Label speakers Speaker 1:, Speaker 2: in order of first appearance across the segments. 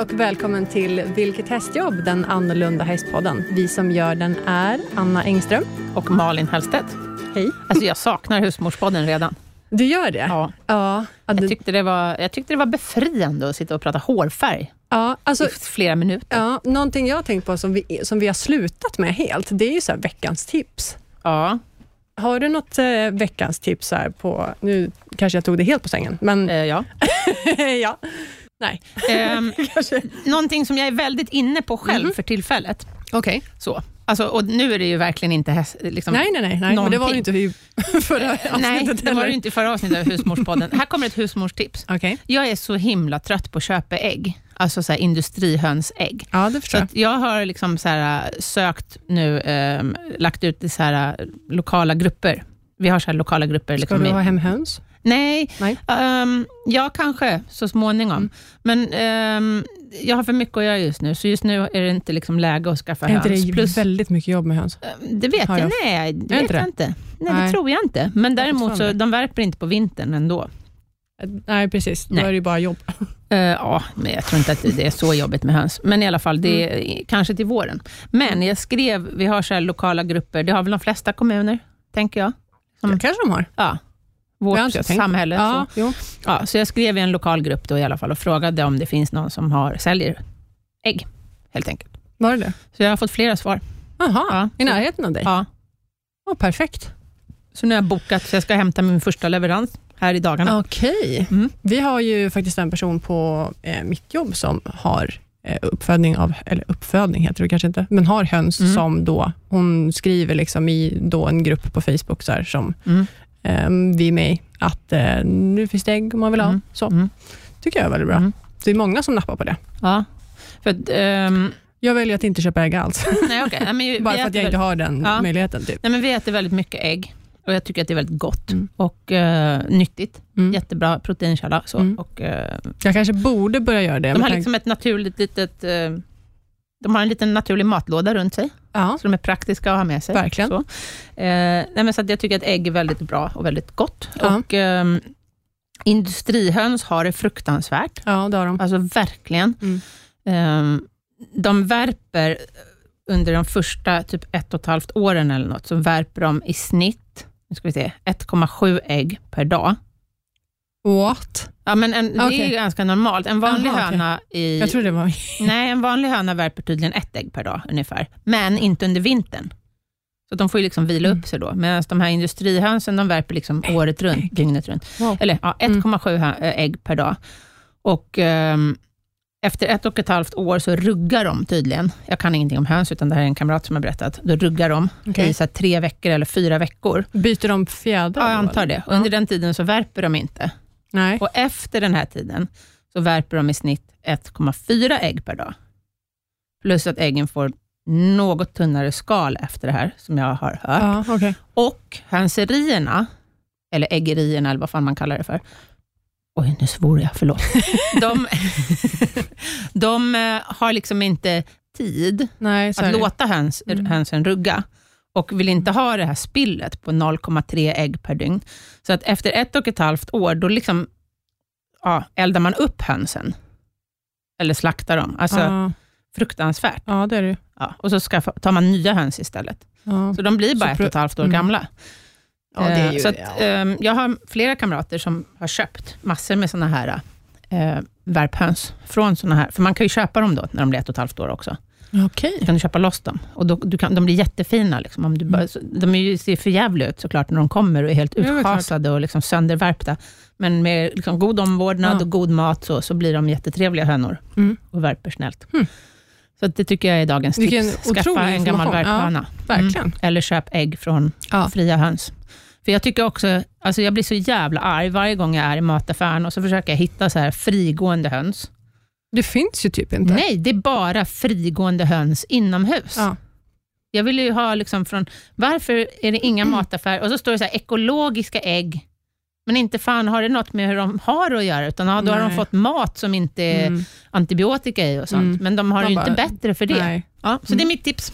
Speaker 1: och välkommen till Vilket hästjobb, den annorlunda hästpodden. Vi som gör den är Anna Engström.
Speaker 2: Och Malin Hellstedt.
Speaker 1: Hej.
Speaker 2: Alltså jag saknar husmorspodden redan.
Speaker 1: Du gör det?
Speaker 2: Ja.
Speaker 1: Ja, ja,
Speaker 2: Jag
Speaker 1: du,
Speaker 2: tyckte det var, jag tyckte det var befriande att sitta och prata hårfärg
Speaker 1: ja, alltså,
Speaker 2: i flera minuter.
Speaker 1: ja, någonting jag har tänkt på som vi, som vi har slutat med helt, det är ju så här veckans tips.
Speaker 2: Ja.
Speaker 1: Har du något eh, veckans tips här på, nu kanske jag tog det helt på sängen, men
Speaker 2: Eh, ja.
Speaker 1: ja,
Speaker 2: Ehm,
Speaker 1: kanske.
Speaker 2: någonting som jag är väldigt inne på själv
Speaker 1: Mhm.
Speaker 2: för tillfället.
Speaker 1: Okej.
Speaker 2: Så. Alltså, och nu är det ju verkligen inte häst, liksom,
Speaker 1: Nej, nej, nej, nej men det var ju inte
Speaker 2: Någonting.
Speaker 1: i förra avsnittet
Speaker 2: Nej, det var
Speaker 1: heller.
Speaker 2: det ju inte i förra avsnittet av husmorspodden. Här kommer ett husmorstips.
Speaker 1: Okej.
Speaker 2: Jag är så himla trött på att köpa ägg. Alltså så här industrihönsägg.
Speaker 1: Ja, det
Speaker 2: Så
Speaker 1: förstår jag.
Speaker 2: att jag har liksom så här, äh, sökt nu, ehm, lagt ut i så här, äh, lokala grupper. Vi har så här lokala grupper.
Speaker 1: Ska
Speaker 2: Liksom
Speaker 1: du
Speaker 2: i,
Speaker 1: ha hem höns?
Speaker 2: nej,
Speaker 1: Nej. Mm.
Speaker 2: ehm, ja kanske så småningom. Men ehm, jag har för mycket att göra just nu, så just nu är det inte liksom läge att skaffa
Speaker 1: Är inte
Speaker 2: höns.
Speaker 1: det
Speaker 2: Plus,
Speaker 1: väldigt mycket jobb med höns?
Speaker 2: ehm, det vet
Speaker 1: Har
Speaker 2: jag,
Speaker 1: jag-
Speaker 2: nej, det
Speaker 1: Är
Speaker 2: vet
Speaker 1: inte
Speaker 2: jag
Speaker 1: det?
Speaker 2: inte. Nej, det
Speaker 1: Nej.
Speaker 2: tror jag inte. Men
Speaker 1: Jag
Speaker 2: däremot så,
Speaker 1: fortfarande.
Speaker 2: de värper inte på vintern ändå.
Speaker 1: Nej, precis. Då
Speaker 2: Nej.
Speaker 1: är det ju bara jobb.
Speaker 2: Eh, ja, men jag tror inte att det är så jobbigt med höns. Men i alla fall, det är
Speaker 1: Mm.
Speaker 2: i- kanske till våren. Men jag skrev, vi har så här lokala grupper, det har väl de flesta kommuner, tänker jag. Mm.
Speaker 1: Det kanske de har.
Speaker 2: Ja,
Speaker 1: Det har
Speaker 2: vårt
Speaker 1: inte jag tänkt.
Speaker 2: samhälle.
Speaker 1: Ja,
Speaker 2: Så.
Speaker 1: jo.
Speaker 2: Ja, så jag skrev i en lokal grupp då i alla fall och frågade om det finns någon som har, säljer ägg, helt enkelt.
Speaker 1: Var det det?
Speaker 2: Så jag har fått flera svar.
Speaker 1: Jaha,
Speaker 2: Ja,
Speaker 1: i
Speaker 2: så,
Speaker 1: närheten av dig?
Speaker 2: ja.
Speaker 1: Ja, perfekt.
Speaker 2: så nu har jag bokat, så jag ska hämta min första leverans här i dagarna.
Speaker 1: Okej.
Speaker 2: Mm.
Speaker 1: Vi har ju faktiskt en person på eh, mitt jobb som har eh, uppfödning av, eller uppfödning heter det kanske inte, men har höns
Speaker 2: Mm.
Speaker 1: som då, hon skriver liksom i då en grupp på Facebook så här, som
Speaker 2: Mm.
Speaker 1: eh, vi är med i, att eh, nu finns det ägg om man vill ha.
Speaker 2: Mm.
Speaker 1: Så,
Speaker 2: Mm.
Speaker 1: tycker jag är väldigt bra.
Speaker 2: Mm.
Speaker 1: Det är många som nappar på det.
Speaker 2: Ja. För att, ehm,
Speaker 1: Jag väljer att inte köpa ägg alls,
Speaker 2: nej, okej. nej, men ju-
Speaker 1: bara
Speaker 2: vi
Speaker 1: för att
Speaker 2: äter
Speaker 1: jag
Speaker 2: väl-
Speaker 1: inte har den
Speaker 2: Ja.
Speaker 1: möjligheten. Typ.
Speaker 2: Nej, men vi äter väldigt mycket ägg och jag tycker att det är väldigt gott
Speaker 1: Mm.
Speaker 2: och eh, nyttigt.
Speaker 1: Mm.
Speaker 2: Jättebra proteinkälla. Så.
Speaker 1: Mm.
Speaker 2: Och, eh,
Speaker 1: Jag kanske borde börja göra det.
Speaker 2: de
Speaker 1: med
Speaker 2: har
Speaker 1: tanke-
Speaker 2: liksom ett naturligt litet... eh, de har en liten naturlig matlåda runt sig,
Speaker 1: ja,
Speaker 2: så de är praktiska att ha med sig.
Speaker 1: Verkligen.
Speaker 2: Så. Eh, nej, men så att jag tycker att ägg är väldigt bra och väldigt gott.
Speaker 1: Ja.
Speaker 2: Och, ehm, industrihöns har det fruktansvärt.
Speaker 1: ja, det har de.
Speaker 2: Alltså verkligen.
Speaker 1: Mm.
Speaker 2: Ehm, de värper eh, under de första typ ett och ett halvt åren eller något, så värper de i snitt, nu ska vi se, 1,7 ägg per dag.
Speaker 1: What?
Speaker 2: Ja, men en, Det är
Speaker 1: Okej.
Speaker 2: ju ganska normalt. En vanlig
Speaker 1: Aha, okej.
Speaker 2: höna i,
Speaker 1: Jag tror det var...
Speaker 2: nej, en vanlig höna värper tydligen ett ägg per dag ungefär, men inte under vintern. Så de får ju liksom vila
Speaker 1: Mm.
Speaker 2: upp sig då, medan de här industrihönsen, de värper liksom året runt, dygnet runt.
Speaker 1: Wow.
Speaker 2: Eller ja,
Speaker 1: Mm.
Speaker 2: 1,7 hö- eh, ägg per dag. Och ehm, efter ett och ett halvt år så ruggar de tydligen. Jag kan ingenting om höns, utan det här är en kamrat som har berättat. Då ruggar de
Speaker 1: Okej.
Speaker 2: i så här, tre veckor eller fyra veckor.
Speaker 1: Byter de fjädrar?
Speaker 2: Ja, jag
Speaker 1: då,
Speaker 2: antar
Speaker 1: eller?
Speaker 2: det. Och under den tiden så värper de inte.
Speaker 1: Nej.
Speaker 2: Och efter den här tiden så värper de i snitt 1,4 ägg per dag. Plus att äggen får något tunnare skal efter det här, som jag har hört.
Speaker 1: Ja, okej.
Speaker 2: Och hönserierna, eller äggerierna eller vad fan man kallar det för. Oj, nu svor jag, förlåt. De, de eh, har liksom inte tid
Speaker 1: Nej, så är
Speaker 2: att
Speaker 1: det.
Speaker 2: låta höns,
Speaker 1: Mm.
Speaker 2: hönsen rugga och vill inte ha det här spillet på 0,3 ägg per dygn. Så att efter ett och ett halvt år, då liksom, ja, eldar man upp hönsen. Eller slaktar dem. Alltså,
Speaker 1: ja,
Speaker 2: Fruktansvärt.
Speaker 1: ja, det är det ju.
Speaker 2: Ja. Och så skaffa, tar man nya höns istället.
Speaker 1: ja.
Speaker 2: Så de blir bara
Speaker 1: Så
Speaker 2: ett
Speaker 1: pro-
Speaker 2: och ett halvt år
Speaker 1: Mm.
Speaker 2: gamla.
Speaker 1: Ja, det är
Speaker 2: Eh,
Speaker 1: ju-
Speaker 2: så att,
Speaker 1: ja.
Speaker 2: ehm, jag har flera kamrater som har köpt massor med såna här eh, värphöns från såna här, för man kan ju köpa dem då när de blir ett och ett halvt år också.
Speaker 1: Okej.
Speaker 2: Då kan du köpa loss dem och då, du kan, de blir jättefina. Liksom, om du bara,
Speaker 1: Mm.
Speaker 2: så, de är ju, ser för jävliga ut såklart när de kommer och är helt
Speaker 1: Ja, det är klart.
Speaker 2: utschasade och liksom söndervärpta. Men med liksom, god omvårdnad
Speaker 1: Ja.
Speaker 2: och god mat så, så blir de jättetrevliga hönor
Speaker 1: Mm.
Speaker 2: och värper snällt.
Speaker 1: Mm.
Speaker 2: Så att det tycker jag är dagens
Speaker 1: Vilken
Speaker 2: tips.
Speaker 1: otrolig
Speaker 2: Skaffa en gammal
Speaker 1: information. Ja,
Speaker 2: värphöna.
Speaker 1: Verkligen.
Speaker 2: Eller köp ägg från
Speaker 1: Ja.
Speaker 2: fria höns. För jag tycker också, alltså jag blir så jävla arg varje gång jag är i mataffären och så försöker jag hitta så här frigående höns.
Speaker 1: Det finns ju typ inte.
Speaker 2: Nej, det är bara frigående höns inomhus.
Speaker 1: Ja.
Speaker 2: Jag vill ju ha liksom från, varför är det inga mataffärer? Och så står det så här ekologiska ägg. Men inte fan har det något med hur de har att göra, utan ja, då har de
Speaker 1: Nej.
Speaker 2: fått mat som inte är
Speaker 1: Mm.
Speaker 2: antibiotika i och sånt.
Speaker 1: Mm.
Speaker 2: Men de har
Speaker 1: Man
Speaker 2: ju
Speaker 1: bara,
Speaker 2: inte bättre för det.
Speaker 1: Nej.
Speaker 2: Ja, så det är mitt tips.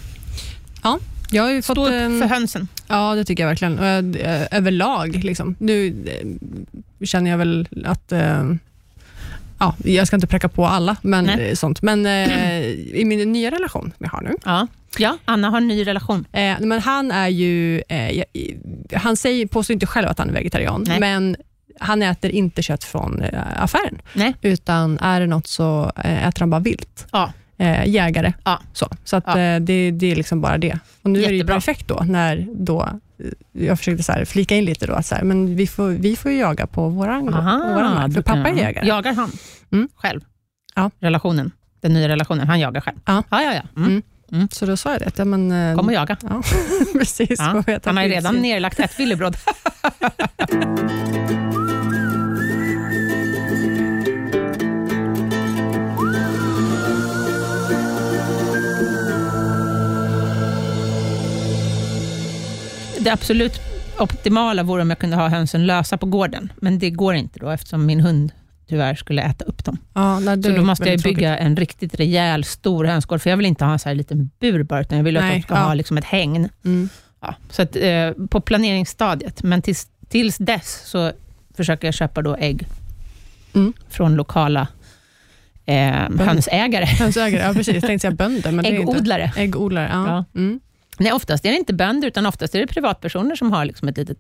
Speaker 1: Jag har ju fått
Speaker 2: Stå upp
Speaker 1: en...
Speaker 2: för hönsen.
Speaker 1: Ja, det tycker jag verkligen. Och jag, eh, överlag, liksom. nu eh, känner jag väl att eh, ja, jag ska inte präcka på alla, men,
Speaker 2: Nej.
Speaker 1: eh, sånt. men eh, i min nya relation som jag har nu,
Speaker 2: Ja. ja, Anna har en ny relation.
Speaker 1: Eh, men han är ju, eh, jag- i- han säger, påstår inte själv att han är vegetarian,
Speaker 2: Nej.
Speaker 1: men han äter inte kött från eh, affären,
Speaker 2: Nej.
Speaker 1: utan är det något så eh, äter han bara vilt.
Speaker 2: Ja.
Speaker 1: Eh, jägare.
Speaker 2: Ja.
Speaker 1: Så, så att,
Speaker 2: Ja.
Speaker 1: eh, det, det är liksom bara det. Och nu är det ju
Speaker 2: Jättebra.
Speaker 1: perfekt då, när då, eh, jag försökte så här flika in lite då, att så här, men vi får, vi får ju jaga på våran, på våran mark, för
Speaker 2: du-
Speaker 1: pappa är
Speaker 2: ja.
Speaker 1: jägare.
Speaker 2: Jagar han
Speaker 1: Mm.
Speaker 2: själv?
Speaker 1: Ja.
Speaker 2: Relationen, den nya relationen, han jagar själv?
Speaker 1: Ja.
Speaker 2: ja, ja. ja. Mm.
Speaker 1: Mm. Så då sa jag det, att ja, men, eh,
Speaker 2: Kom och jaga.
Speaker 1: ja, precis,
Speaker 2: Ja.
Speaker 1: får jag ta
Speaker 2: Han har ju redan
Speaker 1: tillsyn.
Speaker 2: nerlagt ett villebråd. Det absolut optimala vore om jag kunde ha hönsen lösa på gården, men det går inte då eftersom min hund tyvärr skulle äta upp dem.
Speaker 1: Ja, nej, det
Speaker 2: Så
Speaker 1: är
Speaker 2: då måste jag
Speaker 1: väldigt
Speaker 2: ju bygga en riktigt rejäl stor hönsgård, för jag vill inte ha en så här liten bur bara, utan jag vill att
Speaker 1: Nej,
Speaker 2: de ska
Speaker 1: ja.
Speaker 2: ha liksom ett hägn.
Speaker 1: tråkigt. Mm.
Speaker 2: Ja, så att, eh, på planeringsstadiet, men tills, tills dess så försöker jag köpa då ägg
Speaker 1: Mm.
Speaker 2: från lokala eh, hönsägare,
Speaker 1: Hönsägare, ja precis. Jag tänkte säga bönder, men det är inte.
Speaker 2: äggodlare.
Speaker 1: Äggodlare, ja. Mm.
Speaker 2: Nej, oftast är det inte bönder, utan oftast är det privatpersoner som har liksom ett litet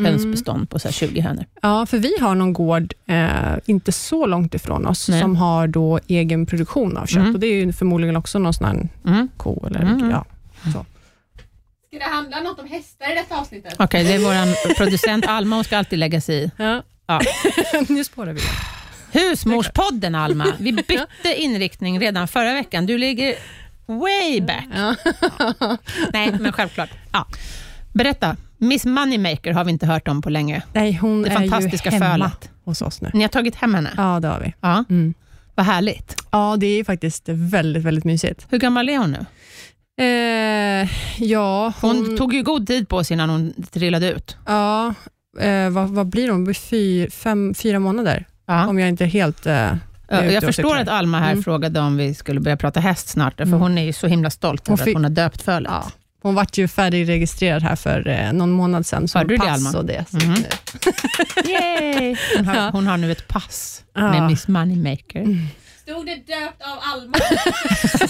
Speaker 1: Mm.
Speaker 2: hönsbestånd på så här 20 hönor.
Speaker 1: Ja, för vi har någon gård, eh, inte så långt ifrån oss,
Speaker 2: Nej.
Speaker 1: som har då egen produktion av kött.
Speaker 2: Mm.
Speaker 1: Och det är ju förmodligen också någon sån här
Speaker 2: Mm.
Speaker 1: ko eller
Speaker 2: Mm.
Speaker 1: ja.
Speaker 3: Ska det handla något om hästar i detta avsnittet?
Speaker 2: Okej, det är vår producent Alma, hon ska alltid lägga sig i.
Speaker 1: ja.
Speaker 2: Ja.
Speaker 1: nu spårar vi.
Speaker 2: Husmorspodden Alma, vi bytte inriktning redan förra veckan. Du ligger way back.
Speaker 1: Ja.
Speaker 2: Nej, men självklart. Ja. Berätta, Miss Moneymaker har vi inte hört om på länge.
Speaker 1: Nej, hon
Speaker 2: Det
Speaker 1: är
Speaker 2: fantastiska
Speaker 1: ju hemma
Speaker 2: fölet.
Speaker 1: hos oss nu.
Speaker 2: Ni har tagit hem henne? Ja.
Speaker 1: Ja, det har vi. Mm.
Speaker 2: Vad härligt.
Speaker 1: Ja, det är faktiskt väldigt, väldigt mysigt.
Speaker 2: Hur gammal är hon nu?
Speaker 1: Eh, ja,
Speaker 2: Hon
Speaker 1: hon...
Speaker 2: tog ju god tid på sig innan hon trillade ut.
Speaker 1: Ja, eh, vad, vad blir hon? Hon blir Fy, fem, fyra månader,
Speaker 2: Ja.
Speaker 1: om jag inte är helt... Eh, är
Speaker 2: Jag
Speaker 1: ute och
Speaker 2: förstår
Speaker 1: cyklar.
Speaker 2: att Alma här
Speaker 1: Mm.
Speaker 2: frågade om vi skulle börja prata häst snart, för
Speaker 1: Mm.
Speaker 2: hon är ju så himla stolt
Speaker 1: Hon
Speaker 2: över att
Speaker 1: fick-
Speaker 2: hon har döpt fölet.
Speaker 1: Ja. Hon vart ju färdigregistrerad här för eh, någon månad sedan. som
Speaker 2: Hörde du det,
Speaker 1: pass
Speaker 2: Alma?
Speaker 1: Och det. Så
Speaker 2: Mhm.
Speaker 1: nu-
Speaker 2: Yay! Hon, har,
Speaker 1: Ja.
Speaker 2: hon har nu ett pass
Speaker 1: Ja. Mm.
Speaker 2: med Miss Moneymaker
Speaker 3: Stod det döpt av Alma?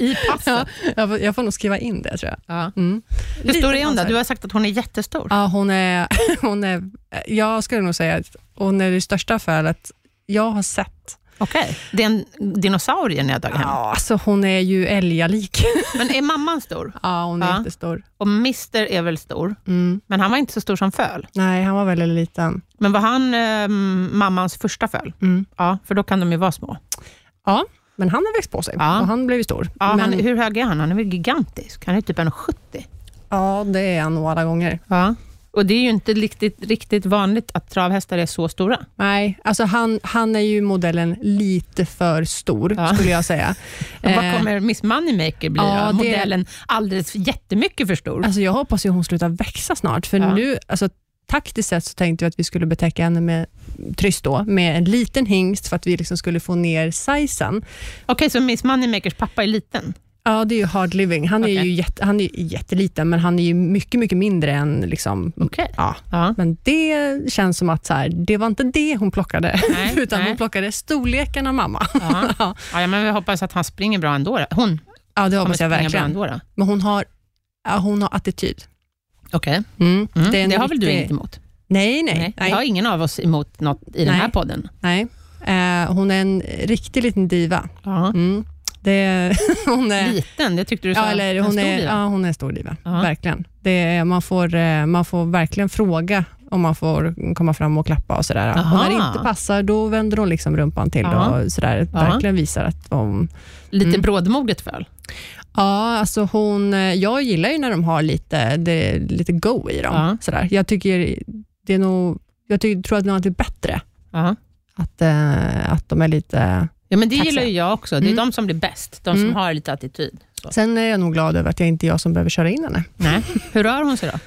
Speaker 2: i passet.
Speaker 1: Ja, jag, får, jag får nog skriva in det tror jag.
Speaker 2: Ja.
Speaker 1: Mm.
Speaker 2: Hur stor
Speaker 1: Lite
Speaker 2: är hon då?
Speaker 1: konsert.
Speaker 2: Du har sagt att hon är jättestor.
Speaker 1: Ja, hon är, hon är, jag skulle nog säga att hon är det största fölet jag har sett.
Speaker 2: Okej. Det är en dinosaurie ni har tagit hem.
Speaker 1: Ja, alltså hon är ju älgalik.
Speaker 2: Men är mamman stor?
Speaker 1: Ja, hon är
Speaker 2: Ja.
Speaker 1: jättestor.
Speaker 2: Och Mister är väl stor,
Speaker 1: Mm.
Speaker 2: men han var inte så stor som föl.
Speaker 1: Nej, han var väldigt liten.
Speaker 2: Men var han eh, mammans första föl?
Speaker 1: Mm.
Speaker 2: Ja, för då kan de ju vara små.
Speaker 1: Men han har växt på sig
Speaker 2: Ja.
Speaker 1: och han blev ju stor.
Speaker 2: Ja,
Speaker 1: Men,
Speaker 2: han, hur hög är han? Han är väl gigantisk? Han är typ 1,70.
Speaker 1: ja, det är han nog alla gånger.
Speaker 2: Ja. Och det är ju inte riktigt, riktigt vanligt att travhästar är så stora.
Speaker 1: Nej, alltså han, han är ju modellen lite för stor,
Speaker 2: Ja.
Speaker 1: skulle jag säga.
Speaker 2: Men Vad
Speaker 1: Eh,
Speaker 2: kommer Miss Moneymaker bli
Speaker 1: ja,
Speaker 2: då?
Speaker 1: det-
Speaker 2: Modellen alldeles för- jättemycket för stor.
Speaker 1: Alltså jag hoppas ju hon slutar växa snart, för
Speaker 2: Ja.
Speaker 1: nu, alltså, taktiskt sett så tänkte jag att vi skulle betäcka henne med tryss då, med en liten hingst för att vi liksom skulle få ner sizen.
Speaker 2: Okej, så Miss Moneymakers pappa är liten?
Speaker 1: Ja, det är ju hard living. Han är
Speaker 2: Okej.
Speaker 1: ju jätte, han är jätteliten, men han är ju mycket, mycket mindre än liksom,
Speaker 2: Okej.
Speaker 1: ja.
Speaker 2: Ja.
Speaker 1: Men det känns som att så här, det var inte det hon plockade,
Speaker 2: Nej,
Speaker 1: utan
Speaker 2: nej.
Speaker 1: hon plockade storleken av mamma.
Speaker 2: Ja.
Speaker 1: Ja,
Speaker 2: ja, men vi hoppas att han springer bra ändå. Då. Hon
Speaker 1: ja det
Speaker 2: kommer
Speaker 1: hoppas jag
Speaker 2: springa bra
Speaker 1: verkligen.
Speaker 2: ändå. Då.
Speaker 1: Men hon har, ja, hon har attityd.
Speaker 2: Okej.
Speaker 1: Mm. är
Speaker 2: Mm.
Speaker 1: en
Speaker 2: Det, har väl du
Speaker 1: riktig-
Speaker 2: inget emot?
Speaker 1: Nej, nej.
Speaker 2: Nej.
Speaker 1: nej.
Speaker 2: Det har ingen av oss emot något i den
Speaker 1: Nej.
Speaker 2: här podden.
Speaker 1: nej. Eh, hon är en riktig liten diva.
Speaker 2: Ja.
Speaker 1: Mm. Det, hon är,
Speaker 2: Liten, det tyckte du sa.
Speaker 1: ja, eller
Speaker 2: En
Speaker 1: hon
Speaker 2: stor
Speaker 1: är,
Speaker 2: diva.
Speaker 1: ja, hon är en stor diva.
Speaker 2: Ja.
Speaker 1: Verkligen. Det är, man, får, eh, man får verkligen fråga om man får komma fram och klappa och sådär.
Speaker 2: Aha.
Speaker 1: Och när det inte passar, då vänder hon liksom rumpan till
Speaker 2: Ja.
Speaker 1: och sådär.
Speaker 2: Ja.
Speaker 1: verkligen visar att hon...
Speaker 2: Lite
Speaker 1: Mm.
Speaker 2: brådmodigt föl.
Speaker 1: Ja, alltså hon... eh, Jag gillar ju när de har lite, det, är lite go i dem.
Speaker 2: Ja.
Speaker 1: Sådär. Jag tycker det är nog... Jag tycker, tror att det är något bättre
Speaker 2: Ja.
Speaker 1: att, eh, att de är lite...
Speaker 2: Ja, men det
Speaker 1: Tack
Speaker 2: gillar
Speaker 1: så.
Speaker 2: ju jag också. Det är
Speaker 1: Mm.
Speaker 2: de som blir bäst, de som
Speaker 1: Mm.
Speaker 2: har lite attityd. Så.
Speaker 1: Sen är jag nog glad över att jag inte är jag som behöver köra in henne.
Speaker 2: Nej. Hur rör hon sig då?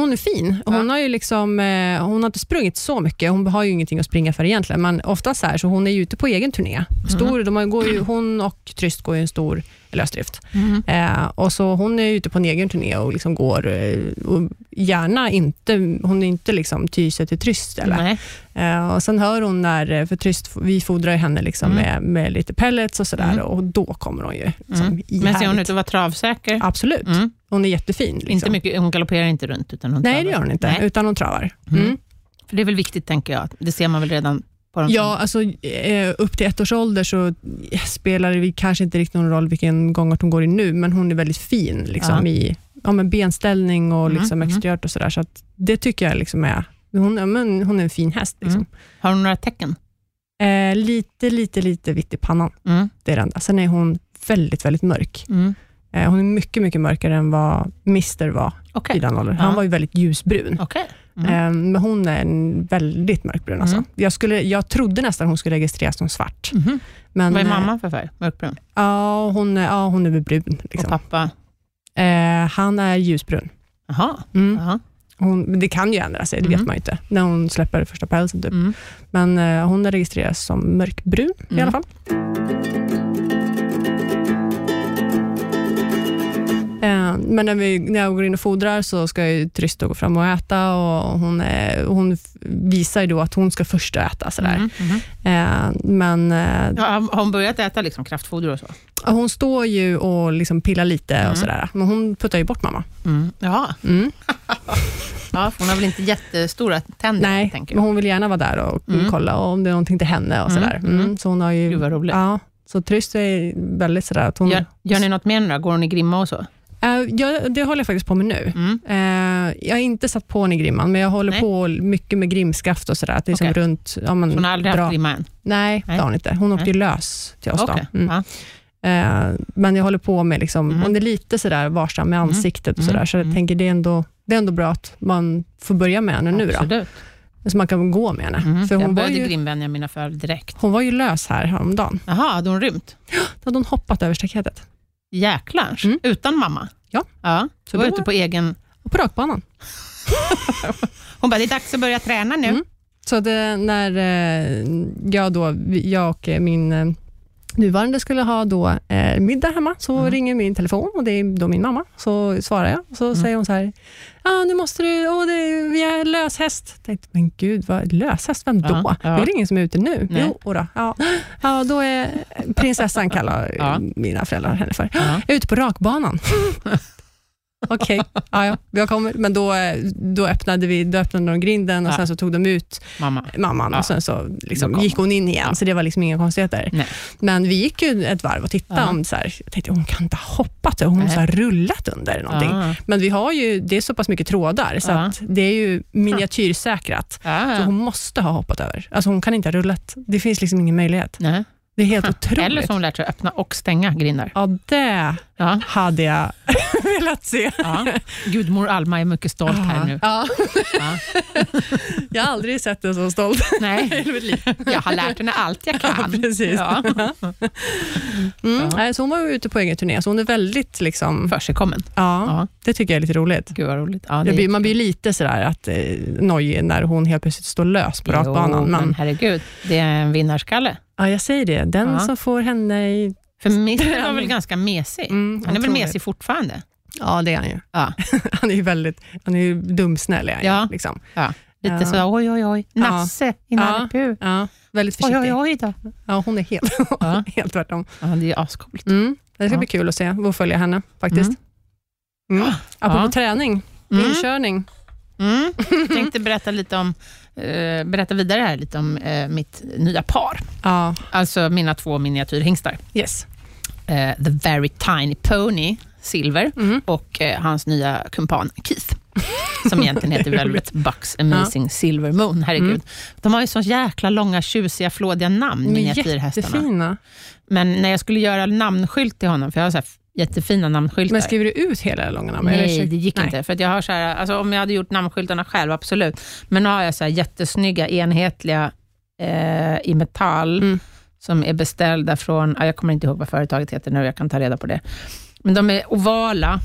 Speaker 1: Hon är fin. och Hon
Speaker 2: Ja.
Speaker 1: har ju liksom, eh, hon har inte sprungit så mycket. Hon har ju ingenting att springa för egentligen, men ofta så här, så hon är ju ute på egen turné.
Speaker 2: Mm.
Speaker 1: Stor, de har, ju- går ju, hon och Tryst går ju en stor lösdrift. Eh, och så hon är ute på en egen turné och liksom går, eh, och gärna inte, hon är inte liksom ty sig till Tryst. Eller?
Speaker 2: Mm. Nej.
Speaker 1: Eh, och sen hör hon när, eh, för Tryst, vi fodrar ju henne liksom
Speaker 2: Mm.
Speaker 1: med, med lite pellets och sådär,
Speaker 2: Mm.
Speaker 1: och då kommer hon ju. Liksom,
Speaker 2: Mm. Men ser hon
Speaker 1: ihärdigt.
Speaker 2: ut att vara travsäker?
Speaker 1: Absolut,
Speaker 2: Mm.
Speaker 1: hon är jättefin. Liksom.
Speaker 2: Inte mycket, hon galopperar inte runt, utan hon
Speaker 1: Nej,
Speaker 2: travar.
Speaker 1: det gör hon inte,
Speaker 2: Nej.
Speaker 1: utan hon travar. Mm.
Speaker 2: Mm. För det är väl viktigt, tänker jag. Det ser man väl redan på dem
Speaker 1: Ja, alltså, eh, upp till ett års ålder så spelar det kanske inte riktigt någon roll vilken gångart hon går i nu, men hon är väldigt fin liksom,
Speaker 2: Ja.
Speaker 1: i ja, men benställning och
Speaker 2: Mm,
Speaker 1: liksom,
Speaker 2: mm.
Speaker 1: exteriört och sådär. Så att det tycker jag liksom är... Hon, ja, men, hon är en fin häst. Liksom.
Speaker 2: som, Har hon några tecken?
Speaker 1: Eh, lite, lite, lite vitt i pannan.
Speaker 2: Mm.
Speaker 1: Det är det enda. Sen är hon väldigt, väldigt mörk.
Speaker 2: Mm.
Speaker 1: Eh, hon är mycket, mycket mörkare än vad Mister var
Speaker 2: Okej.
Speaker 1: i den åldern. Han
Speaker 2: Ja.
Speaker 1: var ju väldigt ljusbrun.
Speaker 2: Okej. Mm.
Speaker 1: Eh, Men hon är en väldigt mörkbrun. Alltså.
Speaker 2: Mm.
Speaker 1: Jag, skulle, jag trodde nästan hon skulle registreras som svart.
Speaker 2: Mhm.
Speaker 1: Men,
Speaker 2: Vad är
Speaker 1: eh,
Speaker 2: mamma för färg? Mörkbrun?
Speaker 1: Ja, hon är, ja, hon är väl brun.
Speaker 2: Och
Speaker 1: Liksom.
Speaker 2: pappa?
Speaker 1: Eh, han är ljusbrun.
Speaker 2: Jaha.
Speaker 1: Mm.
Speaker 2: Jaha.
Speaker 1: Hon, men det kan ju ändra sig, det
Speaker 2: Mm.
Speaker 1: vet man ju inte, när hon släpper första pälsen. Typ.
Speaker 2: Mm.
Speaker 1: Men eh, hon är registrerad som mörkbrun i
Speaker 2: Mm.
Speaker 1: alla fall. Eh, Men när, vi, när jag går in och fodrar så ska jag ju Tristo gå fram och äta och hon, är, hon f- visar ju då att hon ska först äta. Sådär.
Speaker 2: Mm. Mm.
Speaker 1: Eh, Men eh,
Speaker 2: Ja, har har hon börjat äta liksom kraftfoder och så?
Speaker 1: Ja, Hon står ju och liksom pillar lite
Speaker 2: Mm.
Speaker 1: och sådär, men hon puttar ju bort mamma.
Speaker 2: Mm. Jaha.
Speaker 1: Mm.
Speaker 2: Ja, för hon har väl inte jättestora tänder,
Speaker 1: Nej,
Speaker 2: tänker
Speaker 1: men
Speaker 2: jag.
Speaker 1: hon vill gärna vara där och
Speaker 2: Mm.
Speaker 1: kolla om det är någonting till henne och
Speaker 2: Mm,
Speaker 1: sådär.
Speaker 2: mm.
Speaker 1: Mm. Så hon har
Speaker 2: Gud,
Speaker 1: ju...
Speaker 2: vad roligt.
Speaker 1: Ja, så Tryst är väldigt sådär att hon...
Speaker 2: Gör, gör ni något mer nu då? Går hon i grimma och så?
Speaker 1: Eh, ja, det håller jag faktiskt på med nu.
Speaker 2: Mm.
Speaker 1: Eh, jag har inte satt på henne i grimman, men jag håller
Speaker 2: Nej.
Speaker 1: på mycket med grimskaft och sådär. Att det är som
Speaker 2: Okej.
Speaker 1: runt... Ja, men,
Speaker 2: Så hon har aldrig
Speaker 1: dra-
Speaker 2: haft grimma än?
Speaker 1: Nej,
Speaker 2: Nej.
Speaker 1: det har hon inte. Hon åkte ju lös till oss
Speaker 2: Okej.
Speaker 1: då. Mm.
Speaker 2: Ja.
Speaker 1: Eh, men jag håller på med, liksom,
Speaker 2: Mm.
Speaker 1: hon är lite sådär varsam med
Speaker 2: Mm.
Speaker 1: ansiktet och
Speaker 2: Mm.
Speaker 1: sådär, så jag
Speaker 2: Mm.
Speaker 1: tänker det är, ändå, det är ändå bra att man får börja med henne nu då,
Speaker 2: Absolut.
Speaker 1: så man kan gå med henne.
Speaker 2: Mm.
Speaker 1: För
Speaker 2: jag
Speaker 1: hon var,
Speaker 2: började
Speaker 1: ju,
Speaker 2: grimvänja mina föräldrar direkt.
Speaker 1: hon var ju lös här häromdagen.
Speaker 2: Jaha, hade hon rymt?
Speaker 1: Då hade hon hoppat över staketet,
Speaker 2: Jäklar.
Speaker 1: Mm.
Speaker 2: Utan mamma?
Speaker 1: Ja.
Speaker 2: ja.
Speaker 1: Så
Speaker 2: Du var
Speaker 1: då-
Speaker 2: ute på egen...
Speaker 1: och på rakbanan.
Speaker 2: Hon bara, det är dags att börja träna nu.
Speaker 1: Mm. Så det, när eh, jag, då, vi- jag och eh, min eh, nuvarande skulle ha då, eh, middag hemma, så
Speaker 2: Mm.
Speaker 1: ringer min telefon och det är då min mamma. Så svarar jag och så säger hon så här, ah, nu måste du, åh, det, vi har löshäst. Jag tänkte, men gud, vad, löshäst, vem då?
Speaker 2: Ja, ja.
Speaker 1: Det är väl ingen som är ute nu?
Speaker 2: Nej.
Speaker 1: Jo, då. Ja. ja, då är prinsessan, kallar
Speaker 2: Ja.
Speaker 1: mina föräldrar henne för.
Speaker 2: Ja.
Speaker 1: Jag är ute på rakbanan. Okej, ja, ja, jag kommer. Men då, eh, då, öppnade vi, då öppnade de grinden och
Speaker 2: Ja.
Speaker 1: sen så tog de ut
Speaker 2: Mamma.
Speaker 1: mamman
Speaker 2: Ja.
Speaker 1: och sen så
Speaker 2: Då
Speaker 1: liksom
Speaker 2: kom
Speaker 1: gick hon in igen,
Speaker 2: Ja.
Speaker 1: så det var liksom inga konstigheter.
Speaker 2: Nej.
Speaker 1: Men vi gick ju ett varv och tittade.
Speaker 2: Ja.
Speaker 1: Om, så här, jag tänkte, hon kan inte ha hoppat, hon har
Speaker 2: Nej.
Speaker 1: så här rullat under eller någonting.
Speaker 2: Ja.
Speaker 1: Men vi har ju, det är så pass mycket trådar, så
Speaker 2: Ja.
Speaker 1: att det är ju miniatyrsäkrat.
Speaker 2: Ja.
Speaker 1: Så hon måste ha hoppat över. Alltså hon kan inte ha rullat. Det finns liksom ingen möjlighet.
Speaker 2: Nej.
Speaker 1: Det är helt otroligt.
Speaker 2: Eller så har hon lärt sig att öppna och stänga grindar.
Speaker 1: Ja, det
Speaker 2: Ja.
Speaker 1: hade jag velat se.
Speaker 2: Ja. Gudmor Alma är mycket stolt här nu.
Speaker 1: Ja,
Speaker 2: Ja.
Speaker 1: jag har aldrig sett dig så stolt i
Speaker 2: Nej,
Speaker 1: hela mitt liv.
Speaker 2: jag har lärt henne allt jag
Speaker 1: Ja,
Speaker 2: kan.
Speaker 1: precis.
Speaker 2: Ja.
Speaker 1: Mm.
Speaker 2: Ja.
Speaker 1: nej, Så hon var ju ute på egen turné, så hon är väldigt... liksom...
Speaker 2: Försigkommen.
Speaker 1: Ja,
Speaker 2: Ja.
Speaker 1: Det tycker jag är lite roligt.
Speaker 2: Gud vad roligt. Ja, det
Speaker 1: Det
Speaker 2: är
Speaker 1: blir, man blir lite sådär att eh, nojig när hon helt plötsligt står lös på
Speaker 2: Jo,
Speaker 1: rakbanan.
Speaker 2: men
Speaker 1: Men,
Speaker 2: herregud, det är en vinnarskalle.
Speaker 1: ja, jag säger det. Den
Speaker 2: Ja.
Speaker 1: som får henne i...
Speaker 2: För Mister var väl ganska mesig?
Speaker 1: Mm,
Speaker 2: Han är väl
Speaker 1: otroligt.
Speaker 2: mesig fortfarande?
Speaker 1: Ja, det är han ju.
Speaker 2: Ja.
Speaker 1: han är ju väldigt... Han är ju dumsnäll. Är han
Speaker 2: Ja.
Speaker 1: ju, liksom.
Speaker 2: Lite
Speaker 1: Ja.
Speaker 2: så, oj, oj, oj. Nasse i Nalle
Speaker 1: ja, väldigt
Speaker 2: Oj,
Speaker 1: försiktig.
Speaker 2: oj, oj då.
Speaker 1: Ja, hon är helt,
Speaker 2: Ja.
Speaker 1: helt tvärtom.
Speaker 2: Ja, det är ascoolt.
Speaker 1: Mm. Det ska
Speaker 2: Ja.
Speaker 1: bli kul att se och följa henne faktiskt. Mm. Apropå
Speaker 2: Ja.
Speaker 1: träning,
Speaker 2: Mm.
Speaker 1: inkörning.
Speaker 2: Mm. Jag tänkte berätta lite om eh, berätta vidare här lite om eh, mitt nya par.
Speaker 1: Ja,
Speaker 2: Alltså mina två miniatyrhingstar.
Speaker 1: yes.
Speaker 2: Eh, The Very Tiny Pony, Silver,
Speaker 1: Mm.
Speaker 2: och eh, hans nya kumpan Keith, som egentligen heter Velvet Bucks Amazing Silver Moon. Herregud.
Speaker 1: Mm.
Speaker 2: De har ju så jäkla långa, tjusiga, flådiga namn,
Speaker 1: De är
Speaker 2: miniatyrhästarna.
Speaker 1: jättefina.
Speaker 2: Men när jag skulle göra namnskylt till honom, för jag har så här jättefina namnskyltar.
Speaker 1: Men skriver du ut hela långa namn? eller
Speaker 2: Nej,
Speaker 1: försöker-
Speaker 2: det gick
Speaker 1: Nej.
Speaker 2: inte. För att jag har så här, alltså, om jag hade gjort namnskyltarna själv, absolut. Men nu har jag så här jättesnygga, enhetliga eh, i metall,
Speaker 1: Mm.
Speaker 2: som är beställda från, ah, jag kommer inte ihåg vad företaget heter nu, jag kan ta reda på det. Men de är ovala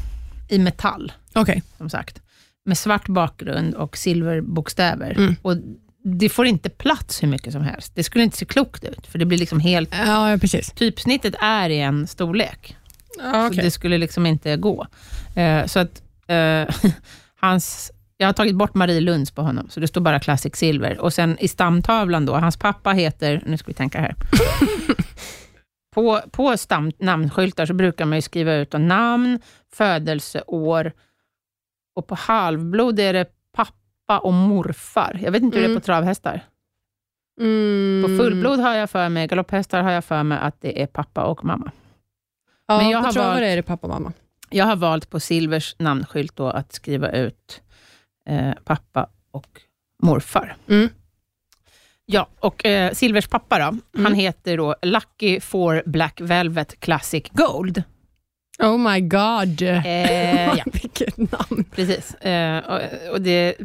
Speaker 2: i metall,
Speaker 1: Okej.
Speaker 2: som sagt. med svart bakgrund och silverbokstäver.
Speaker 1: Mm.
Speaker 2: Och det får inte plats hur mycket som helst. Det skulle inte se klokt ut, för det blir liksom helt...
Speaker 1: Ja, precis.
Speaker 2: Typsnittet är i en storlek.
Speaker 1: Ja,
Speaker 2: Så det skulle liksom inte gå. Eh, så att eh, hans... Jag har tagit bort Marie Lunds på honom, så det står bara Classic Silver. Och sen i stamtavlan då, hans pappa heter... Nu ska vi tänka här. på på stam, namnskyltar så brukar man ju skriva ut då namn, födelseår och på halvblod är det pappa och morfar. Jag vet inte hur det är
Speaker 1: Mm.
Speaker 2: på travhästar. Mm. På fullblod har jag för mig, galopphästar har jag för mig att det är pappa och mamma.
Speaker 1: Ja,
Speaker 2: Men jag
Speaker 1: på
Speaker 2: har
Speaker 1: travare
Speaker 2: valt-
Speaker 1: är det pappa och mamma.
Speaker 2: Jag har valt på Silvers namnskylt då att skriva ut eh, pappa och morfar.
Speaker 1: Mm.
Speaker 2: Ja, och eh, Silvers pappa då, han
Speaker 1: Mm.
Speaker 2: heter då Lucky for Black Velvet Classic Gold.
Speaker 1: Oh my god.
Speaker 2: Eh, ja,
Speaker 1: Vilket namn.
Speaker 2: precis. Eh, och, och det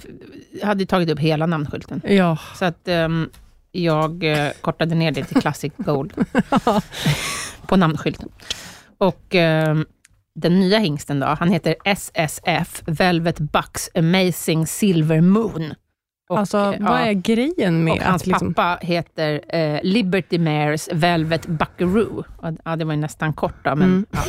Speaker 2: jag hade ju tagit upp hela namnskylten,
Speaker 1: Ja.
Speaker 2: så att ehm, jag eh, kortade ner det till Classic Gold på namnskylten. Och ehm, den nya hingsten då, han heter SSF Velvet Bucks Amazing Silver Moon. Och,
Speaker 1: alltså,
Speaker 2: eh,
Speaker 1: vad
Speaker 2: ja,
Speaker 1: är grejen med
Speaker 2: och hans
Speaker 1: att liksom...
Speaker 2: pappa heter eh, Liberty Mares Velvet Buckaroo. Och, ja, det var ju nästan kort då, men,
Speaker 1: Mm.
Speaker 2: ja.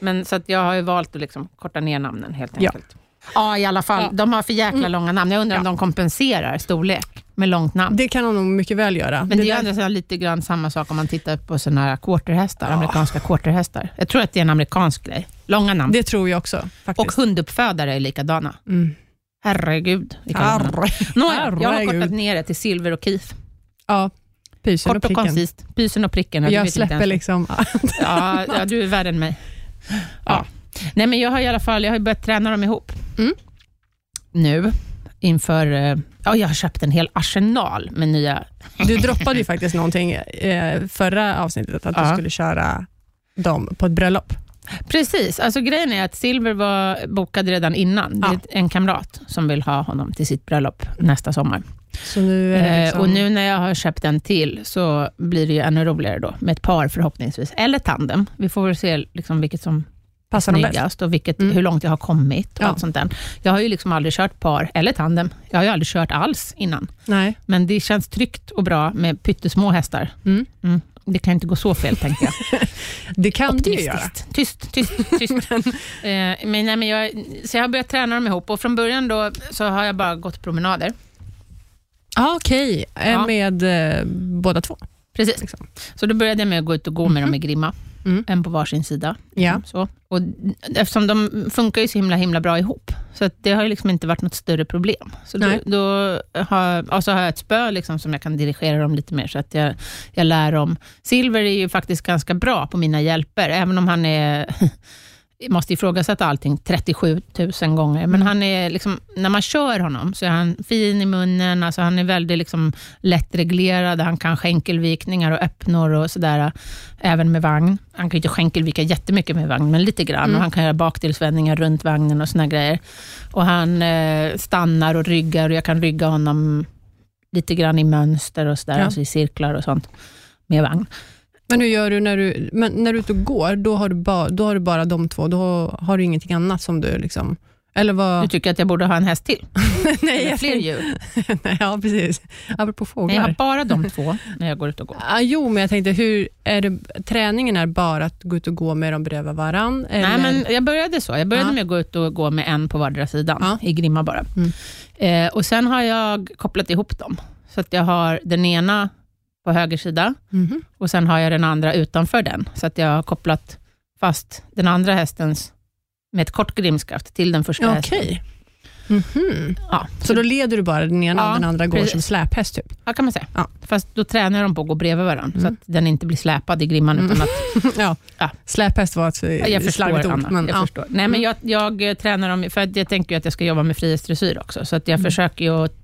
Speaker 2: men så att jag har ju valt att liksom korta ner namnen helt
Speaker 1: Ja.
Speaker 2: enkelt. Ja, i alla fall.
Speaker 1: Ja.
Speaker 2: De har för jäkla
Speaker 1: Mm.
Speaker 2: långa namn. Jag undrar om de kompenserar storlek med långt namn.
Speaker 1: Det kan hon nog mycket väl göra.
Speaker 2: Men det,
Speaker 1: där-
Speaker 2: är ju där... lite grann samma sak om man tittar på såna här quarterhästar,
Speaker 1: Ja.
Speaker 2: amerikanska quarterhästar. Jag tror att det är en amerikansk grej. Långa namn.
Speaker 1: det tror jag också.
Speaker 2: och
Speaker 1: Faktiskt.
Speaker 2: hunduppfödare är likadana.
Speaker 1: Mm.
Speaker 2: Herregud. vilka långa namn.
Speaker 1: Arr.
Speaker 2: Nåja, jag har
Speaker 1: herregud.
Speaker 2: kortat ner det till silver och kif.
Speaker 1: Ja, pysen
Speaker 2: Kort
Speaker 1: och
Speaker 2: och,
Speaker 1: pricken.
Speaker 2: koncist. Pysen och pricken. ja, du
Speaker 1: jag
Speaker 2: vet inte
Speaker 1: släpper
Speaker 2: ens.
Speaker 1: liksom...
Speaker 2: Ja, ja, du är värre än mig. Ja. Nej, men jag har i alla fall jag har ju börjat träna dem ihop.
Speaker 1: Mm.
Speaker 2: Nu, inför... eh, Ja, jag har köpt en hel arsenal med nya...
Speaker 1: Du droppade ju faktiskt någonting eh, förra avsnittet, att
Speaker 2: Ja.
Speaker 1: du skulle köra dem på ett bröllop.
Speaker 2: Precis. Alltså grejen är att Silver var bokad redan innan. Det är
Speaker 1: Ja.
Speaker 2: ett- en kamrat som vill ha honom till sitt bröllop nästa sommar.
Speaker 1: Så nu är det
Speaker 2: Eh,
Speaker 1: liksom...
Speaker 2: och nu när jag har köpt en till så blir det ju ännu roligare då, med ett par förhoppningsvis. Eller tandem. Vi får väl se liksom vilket som
Speaker 1: passar de bäst.
Speaker 2: snyggast och vilket,
Speaker 1: Mm.
Speaker 2: hur långt jag har kommit. Och
Speaker 1: Ja.
Speaker 2: allt sånt där. Jag har ju liksom aldrig kört par eller tandem. Jag har ju aldrig kört alls innan.
Speaker 1: Nej.
Speaker 2: Men det känns tryggt och bra med pyttesmå hästar.
Speaker 1: Mm.
Speaker 2: Mm. Det kan ju inte gå så fel, tänkte jag.
Speaker 1: Det kan du ju göra.
Speaker 2: Optimistiskt. Tyst, tyst, tyst. Eh, men, nej, men jag, så jag har börjat träna dem ihop och från början då, så har jag bara gått promenader.
Speaker 1: Ah, Okej, Eh,
Speaker 2: Ja.
Speaker 1: med eh, båda två.
Speaker 2: Precis.
Speaker 1: Liksom.
Speaker 2: Så då började jag med att gå ut och gå med dem i Grimma,
Speaker 1: Mm.
Speaker 2: en på varsin sida.
Speaker 1: Ja.
Speaker 2: Så. Och eftersom de funkar ju så himla, himla bra ihop, så att det har ju liksom inte varit något större problem. Så då,
Speaker 1: Nej.
Speaker 2: då har, och så har jag ett spö liksom som jag kan dirigera dem lite mer, så att jag, jag lär dem. Silver är ju faktiskt ganska bra på mina hjälper, även om han är måste ifrågasätta allting 37 000 gånger,
Speaker 1: Mm.
Speaker 2: men han är liksom, när man kör honom så är han fin i munnen, alltså han är väldigt liksom lättreglerad, han kan skänkelvikningar och öppnor och sådär, även med vagn. Han kan ju inte skänkelvika jättemycket med vagn, men lite grann,
Speaker 1: Mm.
Speaker 2: och han kan göra baktillsvändningar runt vagnen och såna grejer. Och han eh, stannar och ryggar och jag kan rygga honom lite grann i mönster och sådär,
Speaker 1: Ja.
Speaker 2: alltså i cirklar och sånt med vagn.
Speaker 1: Men hur gör du när du, men när du är ute och går? Då har du, ba, då har du bara de två, då har du ingenting annat som du liksom... Eller
Speaker 2: Du
Speaker 1: vad...
Speaker 2: tycker att jag borde ha en häst till?
Speaker 1: Nej,
Speaker 2: Eller fler
Speaker 1: tänkte-
Speaker 2: djur?
Speaker 1: Nej, ja, precis. Apropå
Speaker 2: Nej, jag har
Speaker 1: fåglar.
Speaker 2: bara de två när jag går ut och går.
Speaker 1: Ah, jo, men jag tänkte, hur är det, träningen är bara att gå ut och gå med dem bredvid varann? Eller?
Speaker 2: Nej, men jag började så. Jag började
Speaker 1: Ja.
Speaker 2: med att gå ut och gå med en på vardera sidan,
Speaker 1: Ja.
Speaker 2: i Grimma bara.
Speaker 1: Mm.
Speaker 2: Eh, och Sen har jag kopplat ihop dem, så att jag har den ena på höger sida
Speaker 1: Mhm.
Speaker 2: och sen har jag den andra utanför den, så att jag har kopplat fast den andra hästens med ett kort grimskaft till den första
Speaker 1: Ja,
Speaker 2: hästen.
Speaker 1: Okej. Mhm.
Speaker 2: Ja,
Speaker 1: Så då leder du bara den ena
Speaker 2: Ja,
Speaker 1: och den andra går
Speaker 2: precis.
Speaker 1: som släphäst? Typ.
Speaker 2: ja, kan man säga.
Speaker 1: Ja.
Speaker 2: Fast då tränar de på att gå bredvid varandra, så
Speaker 1: Mm.
Speaker 2: att den inte blir släpad i grimman,
Speaker 1: Mm.
Speaker 2: utan att
Speaker 1: ja.
Speaker 2: Ja.
Speaker 1: Släphäst var ett
Speaker 2: Ja, jag
Speaker 1: eh,
Speaker 2: förstår,
Speaker 1: slarvigt ord.
Speaker 2: Anna.
Speaker 1: Men,
Speaker 2: jag
Speaker 1: ja. Mm.
Speaker 2: förstår. Nej, men jag, jag eh, tränar dem, för att jag tänker ju att jag ska jobba med frihetsdressyr också, så att
Speaker 1: Mm.
Speaker 2: jag försöker ju att,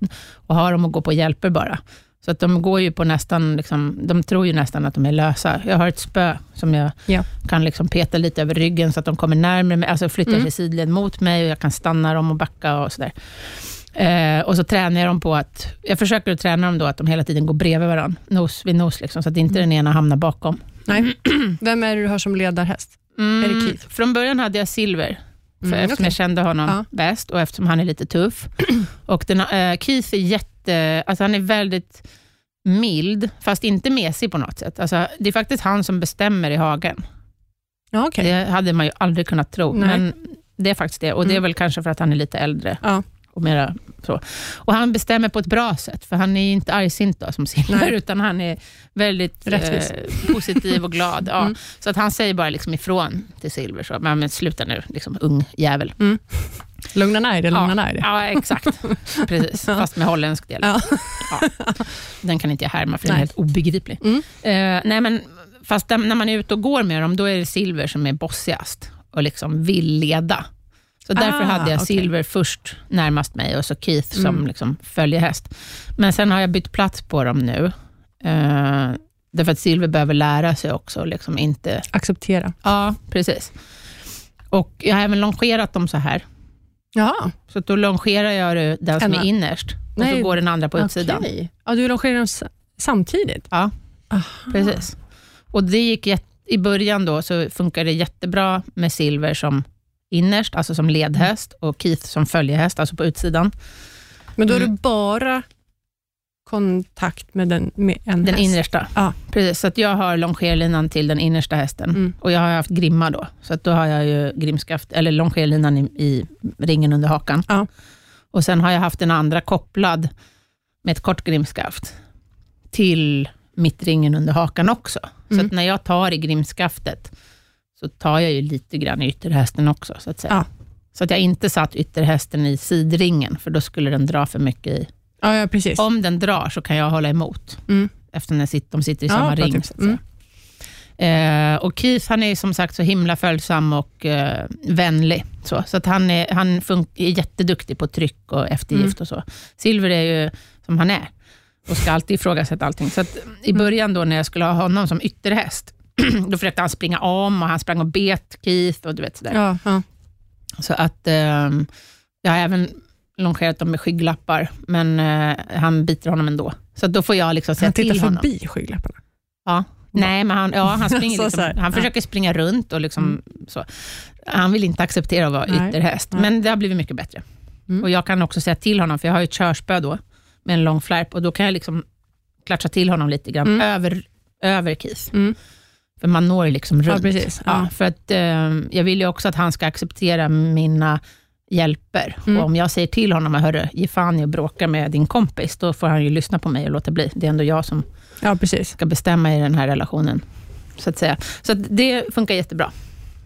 Speaker 2: att ha dem att gå på hjälper bara. Så att de går ju på nästan, liksom, de tror ju nästan att de är lösa. Jag har ett spö som jag
Speaker 1: Ja.
Speaker 2: kan liksom peta lite över ryggen, så att de kommer närmare mig, alltså flyttar
Speaker 1: Mm.
Speaker 2: sig sidled mot mig, och jag kan stanna dem och backa och sådär. Eh, och så tränar jag dem på att, jag försöker att träna dem då att de hela tiden går bredvid varandra, nos vid nos, liksom, så att inte
Speaker 1: Mm.
Speaker 2: den ena hamnar bakom.
Speaker 1: Nej. Vem är det du har som ledarhäst?
Speaker 2: Mm,
Speaker 1: Är det Keith?
Speaker 2: Från början hade jag silver för
Speaker 1: Mm,
Speaker 2: eftersom
Speaker 1: okej.
Speaker 2: jag kände honom
Speaker 1: Ja.
Speaker 2: bäst och eftersom han är lite tuff. och den, eh, Keith är jätte, alltså han är väldigt mild, fast inte mesig på något sätt. Alltså, det är faktiskt han som bestämmer i hagen.
Speaker 1: Ja, okej.
Speaker 2: Det hade man ju aldrig kunnat tro,
Speaker 1: Nej.
Speaker 2: men det är faktiskt det. Och det är
Speaker 1: Mm.
Speaker 2: väl kanske för att han är lite äldre.
Speaker 1: Ja.
Speaker 2: Och, mera så. och han bestämmer på ett bra sätt, för han är ju inte argsint då, som Silver,
Speaker 1: Nej.
Speaker 2: utan han är väldigt
Speaker 1: Rättvis.
Speaker 2: eh, positiv och glad. Ja.
Speaker 1: Mm.
Speaker 2: Så att han säger bara liksom ifrån till Silver, så, men, men sluta nu, liksom, ung jävel.
Speaker 1: Lugna ner dig, lugna ner dig.
Speaker 2: Ja, exakt. Precis, fast med holländsk del.
Speaker 1: Ja.
Speaker 2: Ja. Den kan inte jag härma, för den är
Speaker 1: Nej.
Speaker 2: helt obegriplig.
Speaker 1: Mm.
Speaker 2: Eh, nej, men, fast den- när man är ute och går med dem, då är det Silver som är bossigast och liksom vill leda. Så därför
Speaker 1: Ah,
Speaker 2: hade jag
Speaker 1: okej.
Speaker 2: Silver först närmast mig och så Keith som
Speaker 1: Mm.
Speaker 2: liksom följehäst. Men sen har jag bytt plats på dem nu. Eh, därför att Silver behöver lära sig också, och liksom inte
Speaker 1: Acceptera.
Speaker 2: Ja, precis. Och jag har även longerat dem så här.
Speaker 1: Jaha,
Speaker 2: Så att då longerar jag det- den som
Speaker 1: Ena.
Speaker 2: är innerst och
Speaker 1: Nej.
Speaker 2: så går den andra på utsidan.
Speaker 1: okej. Ja, du longerar dem s- samtidigt?
Speaker 2: Precis. Och det gick jätte, I början då så funkade det jättebra med Silver som innerst, alltså som ledhäst, och Keith som följehäst, alltså på utsidan.
Speaker 1: Men då har
Speaker 2: Mm.
Speaker 1: du bara kontakt med, den, med en
Speaker 2: Den
Speaker 1: häst?
Speaker 2: innersta.
Speaker 1: Ja.
Speaker 2: Precis, så att jag har longerlinan till den innersta hästen
Speaker 1: Mm.
Speaker 2: och jag har haft grimma då, så att då har jag ju grimskaft, eller longerlinan i, i ringen under hakan.
Speaker 1: Ja.
Speaker 2: Och sen har jag haft den andra kopplad med ett kort grimskaft till mittringen under hakan också. Så
Speaker 1: Mm.
Speaker 2: att när jag tar i grimskaftet så tar jag ju lite grann i ytterhästen också, så att säga.
Speaker 1: Ja.
Speaker 2: Så att jag inte satt ytterhästen i sidringen, för då skulle den dra för mycket i
Speaker 1: Ja, ja, precis.
Speaker 2: om den drar så kan jag hålla emot,
Speaker 1: Mm.
Speaker 2: eftersom den sit- de sitter i
Speaker 1: Ja,
Speaker 2: samma
Speaker 1: bra
Speaker 2: ring.
Speaker 1: tips. Mm.
Speaker 2: Så att säga. Eh, och Keith han är som sagt så himla följsam och eh, vänlig. Så, så att han, är, han fun- är jätteduktig på tryck och eftergift
Speaker 1: Mm.
Speaker 2: och så. Silver är ju som han är och ska alltid ifrågasätta allting. Så att
Speaker 1: Mm.
Speaker 2: i början då när jag skulle ha honom som ytterhäst, då försökte han springa om och han sprang och bet Keith och du vet sådär.
Speaker 1: Ja, ja.
Speaker 2: Så att ehm, jag har även longerat dem med skygglappar, men eh, han biter honom ändå. Så att då får jag liksom säga
Speaker 1: Han tittar
Speaker 2: till honom.
Speaker 1: förbi skygglapparna.
Speaker 2: Nej, men han, ja, han, springer
Speaker 1: Så, så
Speaker 2: liksom,
Speaker 1: här. Ja.
Speaker 2: han försöker springa runt och liksom,
Speaker 1: Mm.
Speaker 2: så. Han vill inte acceptera att vara
Speaker 1: Nej.
Speaker 2: ytterhäst,
Speaker 1: Nej.
Speaker 2: men det har blivit mycket bättre.
Speaker 1: Mm.
Speaker 2: Och Jag kan också säga till honom, för jag har ju ett körspö då, med en lång flärp, och då kan jag liksom klatscha till honom lite grann,
Speaker 1: Mm.
Speaker 2: över, över Keith.
Speaker 1: Mm.
Speaker 2: För man når ju liksom
Speaker 1: Ja,
Speaker 2: runt.
Speaker 1: precis.
Speaker 2: Ja,
Speaker 1: Ja.
Speaker 2: för att eh, jag vill ju också att han ska acceptera mina hjälper.
Speaker 1: Mm.
Speaker 2: Och om jag säger till honom, hörru, ge fan i att bråka med din kompis, då får han ju lyssna på mig och låta bli. Det är ändå jag som
Speaker 1: ja, precis.
Speaker 2: ska bestämma i den här relationen. Så att säga. Så att det funkar jättebra.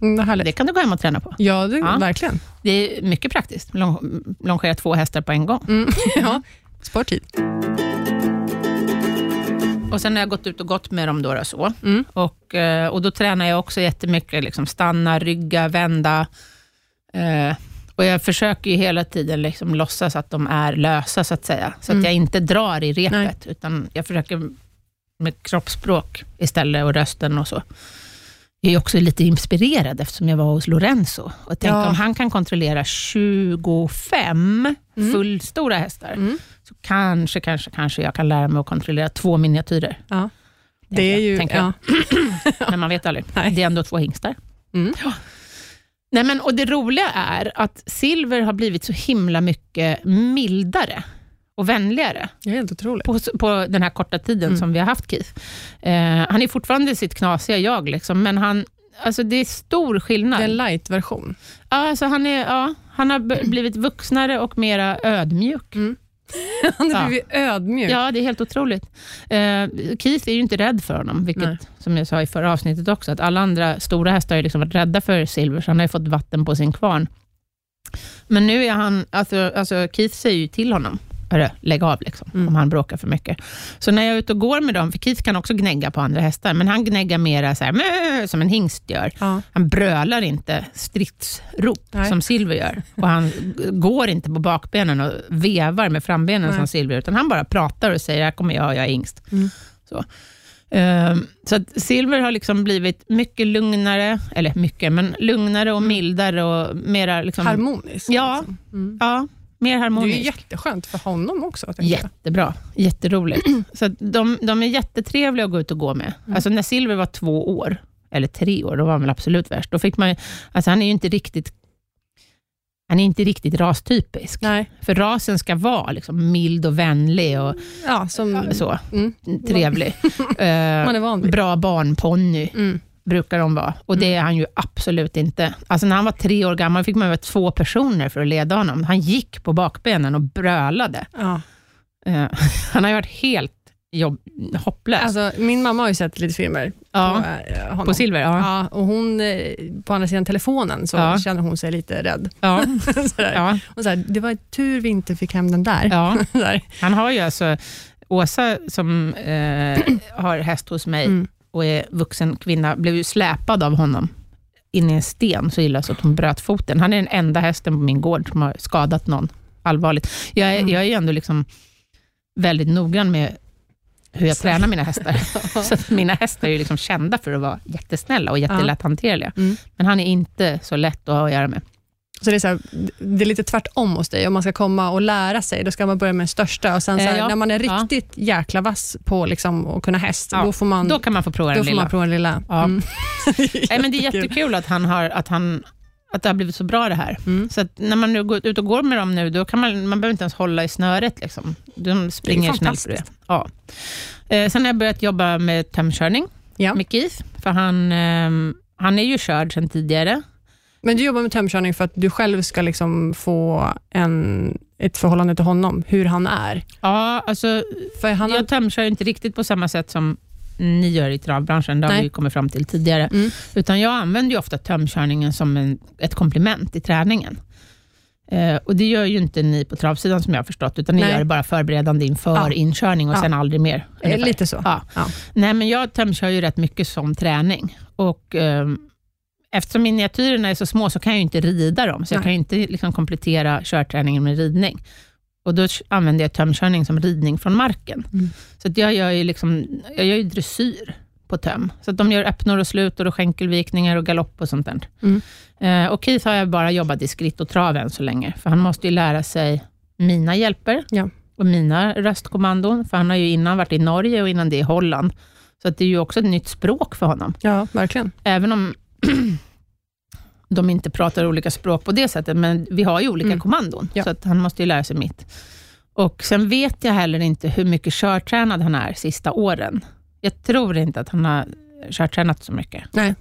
Speaker 1: Mm, vad härligt.
Speaker 2: Det kan du gå hem och träna på.
Speaker 1: Ja, det,
Speaker 2: Ja.
Speaker 1: verkligen.
Speaker 2: Det är mycket praktiskt. Lång- Longera två hästar på en gång.
Speaker 1: Mm. ja. Spar tid.
Speaker 2: Och sen har jag gått ut och gått med dem då, och så.
Speaker 1: Mm.
Speaker 2: Och, eh, och då tränar jag också jättemycket, liksom stanna, rygga, vända. Eh, och jag försöker ju hela tiden liksom låtsas att de är lösa, så att säga. Så
Speaker 1: Mm.
Speaker 2: att jag inte drar i repet,
Speaker 1: Nej.
Speaker 2: utan jag försöker med kroppsspråk istället och rösten och så. Jag är också lite inspirerad eftersom jag var hos Lorenzo och tänkte
Speaker 1: Ja.
Speaker 2: om han kan kontrollera 25
Speaker 1: Mm.
Speaker 2: fullstora hästar,
Speaker 1: Mm.
Speaker 2: så kanske, kanske, kanske jag kan lära mig att kontrollera två miniatyrer.
Speaker 1: Ja. Det är ju...
Speaker 2: tänker jag.
Speaker 1: Ja.
Speaker 2: Men man vet aldrig.
Speaker 1: Nej.
Speaker 2: Det är ändå två hingstar.
Speaker 1: Mm.
Speaker 2: Ja. Nej, men, och det roliga är att Silver har blivit så himla mycket mildare och vänligare
Speaker 1: Det är helt otroligt.
Speaker 2: på, på den här korta tiden
Speaker 1: Mm.
Speaker 2: som vi har haft Keith. Eh, han är fortfarande sitt knasiga jag, liksom, men han, alltså, det är stor
Speaker 1: Det
Speaker 2: skillnad.
Speaker 1: är en light-version.
Speaker 2: Ja, alltså, han, är, ja, han har b- blivit vuxnare och mera ödmjuk.
Speaker 1: Han
Speaker 2: Ja.
Speaker 1: har blivit ödmjuk.
Speaker 2: Ja, det är helt otroligt. Eh, Keith är ju inte rädd för honom, vilket
Speaker 1: Nej.
Speaker 2: som jag sa i förra avsnittet också, att alla andra stora hästar har ju liksom varit rädda för Silver, så han har ju fått vatten på sin kvarn. Men nu är han, alltså, alltså Keith säger ju till honom, "Hörru, lägg av liksom,
Speaker 1: Mm.
Speaker 2: om han bråkar för mycket. Så när jag är ute och går med dem, för Keith kan också gnägga på andra hästar, men han gnäggar mera så här, "Mö", som en hingst gör.
Speaker 1: Ja.
Speaker 2: Han brölar inte stridsrop
Speaker 1: Nej.
Speaker 2: som Silver gör. Och han g- går inte på bakbenen och vevar med frambenen
Speaker 1: Nej.
Speaker 2: som Silver, utan han bara pratar och säger, här kommer jag, jag är yngst.
Speaker 1: Mm.
Speaker 2: Så. Ehm, så att Silver har liksom blivit mycket lugnare, eller mycket, men lugnare
Speaker 1: Mm.
Speaker 2: och mildare och mera... Liksom,
Speaker 1: Harmonisk.
Speaker 2: Ja.
Speaker 1: liksom. Mm.
Speaker 2: ja, mer
Speaker 1: Det är
Speaker 2: harmonisk.
Speaker 1: ju jätteskönt för honom också. tänker jag.
Speaker 2: Jättebra, jätteroligt. Så att de, de är jättetrevliga att gå ut och gå med.
Speaker 1: Mm.
Speaker 2: Alltså när Silver var två år, eller tre år, då var han väl absolut värst. Då fick man, ju- alltså han är ju inte riktigt Han är inte riktigt rastypisk.
Speaker 1: Nej.
Speaker 2: För rasen ska vara liksom mild och vänlig och
Speaker 1: Ja, som,
Speaker 2: så.
Speaker 1: mm,
Speaker 2: Trevlig. Eh,
Speaker 1: man är Mm. van vid.
Speaker 2: bra barnponny
Speaker 1: Mm.
Speaker 2: brukar de vara. Och det är han ju absolut inte. Alltså när han var tre år gammal fick man över två personer för att leda honom. Han gick på bakbenen och brölade.
Speaker 1: Ja.
Speaker 2: Eh, han har ju varit helt jobb, hopplös.
Speaker 1: Alltså, min mamma har ju sett lite filmer
Speaker 2: ja,
Speaker 1: på eh,
Speaker 2: på,
Speaker 1: honom.
Speaker 2: silver, ja.
Speaker 1: Ja, och hon, eh, på andra sidan telefonen så
Speaker 2: Ja.
Speaker 1: känner hon sig lite rädd.
Speaker 2: Ja.
Speaker 1: Sådär.
Speaker 2: Ja,
Speaker 1: Och såhär, det var tur vi inte fick hem den där.
Speaker 2: ja.
Speaker 1: Sådär.
Speaker 2: Han har ju alltså, Åsa som eh, har häst hos mig
Speaker 1: Mm.
Speaker 2: och är vuxen kvinna, blev ju släpad av honom in i en sten så illa så att hon bröt foten. Han är den enda hästen på min gård som har skadat någon allvarligt. Jag är,
Speaker 1: Mm.
Speaker 2: jag är ju ändå liksom väldigt noggrann med hur jag
Speaker 1: Så.
Speaker 2: tränar mina hästar. så att mina hästar är ju liksom kända för att vara jättesnälla och jättelätt hanterliga.
Speaker 1: Mm.
Speaker 2: Men han är inte så lätt att ha att göra med.
Speaker 1: Så det är, så här, det är lite tvärtom hos dig. Om man ska komma och lära sig, då ska man börja med den största. Och sen så här,
Speaker 2: Eh, ja.
Speaker 1: När man är
Speaker 2: Ja.
Speaker 1: riktigt jäkla vass på liksom, att kunna häst,
Speaker 2: Ja.
Speaker 1: då får man,
Speaker 2: Då kan man få prova
Speaker 1: då
Speaker 2: den
Speaker 1: får
Speaker 2: lilla.
Speaker 1: man prova den lilla.
Speaker 2: Ja.
Speaker 1: Mm.
Speaker 2: Nej, men det är
Speaker 1: Jättekul.
Speaker 2: jättekul att, han har, att, han, att det har blivit så bra det här.
Speaker 1: Mm.
Speaker 2: Så att när man nu går ut och går med dem nu, då kan man, man behöver inte ens hålla i snöret. Liksom. De
Speaker 1: Det är
Speaker 2: springer snällt
Speaker 1: fantastiskt.
Speaker 2: bredvid. Ja. Eh, sen har jag börjat jobba med tömkörning
Speaker 1: Ja.
Speaker 2: med KIF, för han, ehm, han är ju körd sedan tidigare.
Speaker 1: Men du jobbar med tömkörning för att du själv ska liksom få en, ett förhållande till honom, hur han är.
Speaker 2: Ja, alltså,
Speaker 1: För han har,
Speaker 2: jag tömkör ju inte riktigt på samma sätt som ni gör i travbranschen, det har
Speaker 1: Nej.
Speaker 2: vi ju kommit fram till tidigare.
Speaker 1: Mm.
Speaker 2: Utan jag använder ju ofta tömkörningen som en, ett komplement i träningen. Eh, och det gör ju inte ni på travsidan som jag har förstått, utan ni
Speaker 1: Nej.
Speaker 2: gör det bara förberedande inför
Speaker 1: Ja.
Speaker 2: inkörning och
Speaker 1: Ja.
Speaker 2: sen aldrig mer.
Speaker 1: eh,
Speaker 2: ungefär.
Speaker 1: lite så.
Speaker 2: Ja.
Speaker 1: Ja.
Speaker 2: Nej, men jag tömkör ju rätt mycket som träning. Och, ehm, eftersom miniatyrerna är så små så kan jag ju inte rida dem, så jag
Speaker 1: Nej.
Speaker 2: kan ju inte liksom komplettera körträningen med ridning. Och Då sh- använder jag tömkörning som ridning från marken.
Speaker 1: Mm.
Speaker 2: Så att jag, gör ju liksom, jag gör ju dressyr på töm. Så att de gör öppnor och slutor och skänkelvikningar och galopp och sånt där.
Speaker 1: Mm.
Speaker 2: Eh, och Keith har jag bara jobbat i skritt och trav än så länge, för han måste ju lära sig mina hjälper
Speaker 1: Ja.
Speaker 2: och mina röstkommandon, för han har ju innan varit i Norge och innan det i Holland. Så att det är ju också ett nytt språk för honom.
Speaker 1: ja, verkligen.
Speaker 2: Även om de inte pratar olika språk på det sättet, men vi har ju olika
Speaker 1: Mm.
Speaker 2: kommandon,
Speaker 1: Ja.
Speaker 2: så att han måste ju lära sig mitt. Och Sen vet jag heller inte hur mycket körtränad han är sista åren. Jag tror inte att han har körtränat så mycket.
Speaker 1: Nej.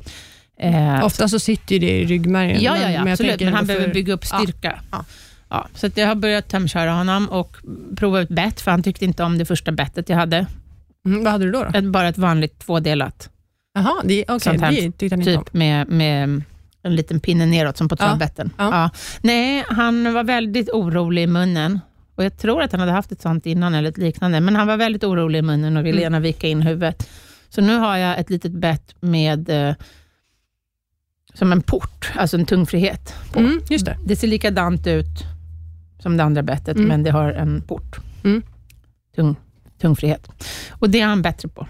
Speaker 2: Eh,
Speaker 1: Ofta så sitter ju det i ryggmärgen.
Speaker 2: Ja, ja, ja
Speaker 1: jag
Speaker 2: absolut.
Speaker 1: tänker
Speaker 2: Men han
Speaker 1: ändå
Speaker 2: behöver
Speaker 1: för-
Speaker 2: bygga upp
Speaker 1: Ja.
Speaker 2: styrka.
Speaker 1: Ja.
Speaker 2: Ja. så att jag har börjat tömköra honom och prova ut bett, för han tyckte inte om det första bettet jag hade.
Speaker 1: Mm, vad hade du då? då?
Speaker 2: Ett- Bara ett vanligt tvådelat,
Speaker 1: Jaha, det- okej,
Speaker 2: Sånt här.
Speaker 1: det tyckte han inte om.
Speaker 2: typ med, med en liten pinne neråt, som på
Speaker 1: Ja.
Speaker 2: travbetten.
Speaker 1: Ja.
Speaker 2: Ja. Nej, han var väldigt orolig i munnen. Och Jag tror att han hade haft ett sånt innan, eller ett liknande, men han var väldigt orolig i munnen och ville
Speaker 1: Mm.
Speaker 2: gärna vika in huvudet. Så nu har jag ett litet bett med eh, som en port, alltså en tungfrihet. på.
Speaker 1: Mm, just det.
Speaker 2: Det ser likadant ut som det andra bettet,
Speaker 1: Mm.
Speaker 2: men det har en port.
Speaker 1: Mm.
Speaker 2: Tung, tungfrihet. Och det är han bättre på.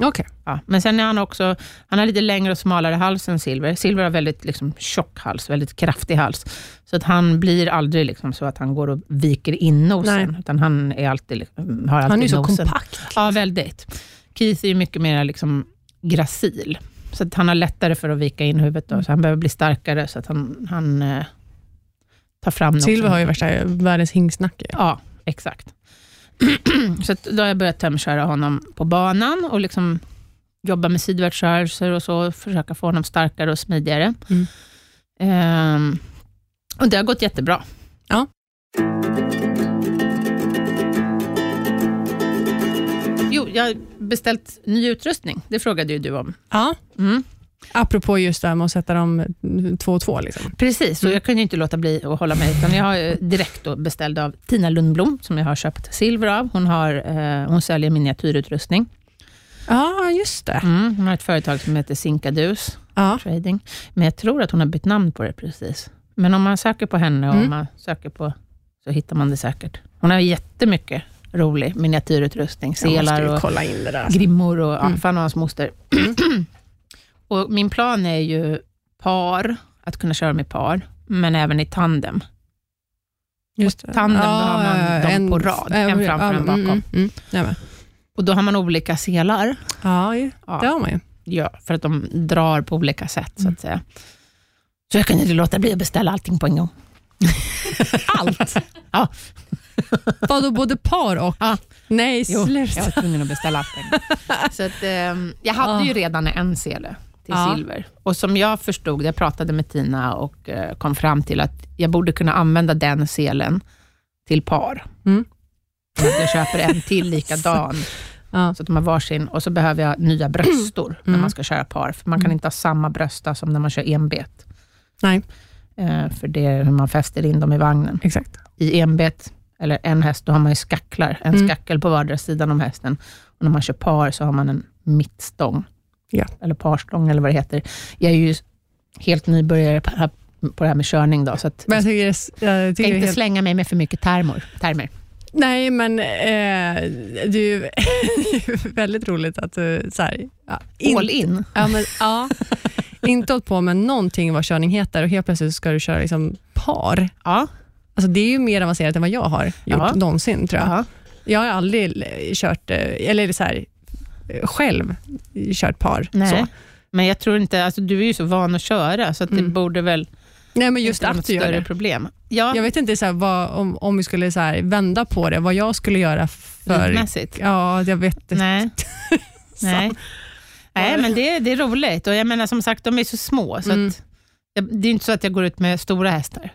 Speaker 1: Okej.
Speaker 2: Ja. Men sen är han också, han har lite längre och smalare hals än Silver. Silver har väldigt liksom, tjock hals, väldigt kraftig hals. Så att han blir aldrig liksom, så att han går och viker in nosen, utan han är alltid, liksom- har alltid
Speaker 1: Han är ju så
Speaker 2: nosen.
Speaker 1: kompakt.
Speaker 2: Ja, väldigt. Keith är ju mycket mer liksom gracil, så att han har lättare för att vika in huvudet. Då, så han behöver bli starkare, så att han, han eh, tar fram något.
Speaker 1: Silver
Speaker 2: som-
Speaker 1: har ju värsta världens hingsnacke.
Speaker 2: Ja, exakt. så att då har jag börjat tömköra honom på banan och liksom jobba med sidvärtsrörelser och så, försöka få honom starkare och smidigare.
Speaker 1: Mm.
Speaker 2: Ehm, och det har gått jättebra.
Speaker 1: Ja.
Speaker 2: Jo, jag har beställt ny utrustning. Det frågade ju du om.
Speaker 1: Ja,
Speaker 2: Mm.
Speaker 1: apropå just det här med att sätta dem två och två. Liksom.
Speaker 2: Precis, och jag kunde ju inte låta bli att hålla mig, utan jag har eh, direkt då beställd av Tina Lundblom, som jag har köpt silver av. Hon, har, eh, hon säljer miniatyrutrustning.
Speaker 1: Ja, just det.
Speaker 2: Mm, hon har ett företag som heter Sinkadus
Speaker 1: Ja.
Speaker 2: Trading, men jag tror att hon har bytt namn på det precis. Men om man söker på henne och
Speaker 1: Mm.
Speaker 2: om man söker på, så hittar man det säkert. Hon har jättemycket rolig miniatyrutrustning,
Speaker 1: Jag måste
Speaker 2: selar
Speaker 1: ju
Speaker 2: och
Speaker 1: kolla in det där.
Speaker 2: grimmor och ja,
Speaker 1: Mm.
Speaker 2: fan och hans moster. och min plan är ju par, att kunna köra med par, men även i tandem.
Speaker 1: Just det.
Speaker 2: tandem, då har man dem på rad. En
Speaker 1: ja,
Speaker 2: framför, en
Speaker 1: mm,
Speaker 2: bakom.
Speaker 1: Mm, mm. Jag med.
Speaker 2: Och då har man olika selar.
Speaker 1: Ja, ju.
Speaker 2: Ja.
Speaker 1: det har man ju.
Speaker 2: Ja, för att de drar på olika sätt, så
Speaker 1: Mm.
Speaker 2: att säga. Så jag kunde inte låta bli att beställa allting på en gång.
Speaker 1: Allt.
Speaker 2: Ja.
Speaker 1: Vadå, både par och?
Speaker 2: Ja.
Speaker 1: Nej,
Speaker 2: Jo,
Speaker 1: sluta.
Speaker 2: jag var tvungen att beställa appen. Så att, ehm, jag hade ju redan en sele till
Speaker 1: Ja.
Speaker 2: silver. Och som jag förstod, jag pratade med Tina och eh, kom fram till att jag borde kunna använda den selen till par.
Speaker 1: Mm.
Speaker 2: Så Att jag köper en till likadan,
Speaker 1: Ja.
Speaker 2: så att de har varsin. Och så behöver jag nya bröstor när
Speaker 1: Mm.
Speaker 2: man ska köra par, för man kan inte ha samma brösta som när man kör enbet.
Speaker 1: Nej,
Speaker 2: Eh, för det är hur man fäster in dem i vagnen.
Speaker 1: exakt.
Speaker 2: i enbet, eller en häst, då har man ju skacklar. En
Speaker 1: Mm.
Speaker 2: skackel på vardera sidan om hästen. Och när man kör par så har man en mittstång.
Speaker 1: Ja.
Speaker 2: Eller parstång eller vad det heter. Jag är ju helt nybörjare på det här, på det här med körning då, så att
Speaker 1: Men
Speaker 2: jag
Speaker 1: jag tycker, det är- jag
Speaker 2: ska
Speaker 1: tycker det är
Speaker 2: inte
Speaker 1: helt...
Speaker 2: slänga mig med för mycket termor, termer.
Speaker 1: Nej, men eh, det är ju det är ju väldigt roligt att du så här, ja, in-
Speaker 2: All in.
Speaker 1: Ja, men, ja. inte hållit på med någonting vad körning heter och helt plötsligt ska du köra liksom par.
Speaker 2: Ja.
Speaker 1: Alltså, det är ju mer avancerat än vad jag har gjort
Speaker 2: Ja.
Speaker 1: någonsin, tror jag.
Speaker 2: Ja.
Speaker 1: Jag har aldrig eh, kört, eh, eller så här, eh, själv kört par.
Speaker 2: Nej.
Speaker 1: Så.
Speaker 2: Men jag tror inte, alltså du är ju så van att köra, så att det
Speaker 1: Mm.
Speaker 2: borde väl
Speaker 1: Nej, men just
Speaker 2: inte vara något
Speaker 1: att du gör
Speaker 2: större
Speaker 1: det.
Speaker 2: problem. Ja,
Speaker 1: Jag vet inte så här, vad, om, om vi skulle så här, vända på det, vad jag skulle göra för...
Speaker 2: livmässigt.
Speaker 1: Ja, jag vet inte.
Speaker 2: Nej. Nej. Nej, men det, det är roligt. Och jag menar som sagt, de är så små, så
Speaker 1: Mm.
Speaker 2: att, jag- det är inte så att jag går ut med stora hästar.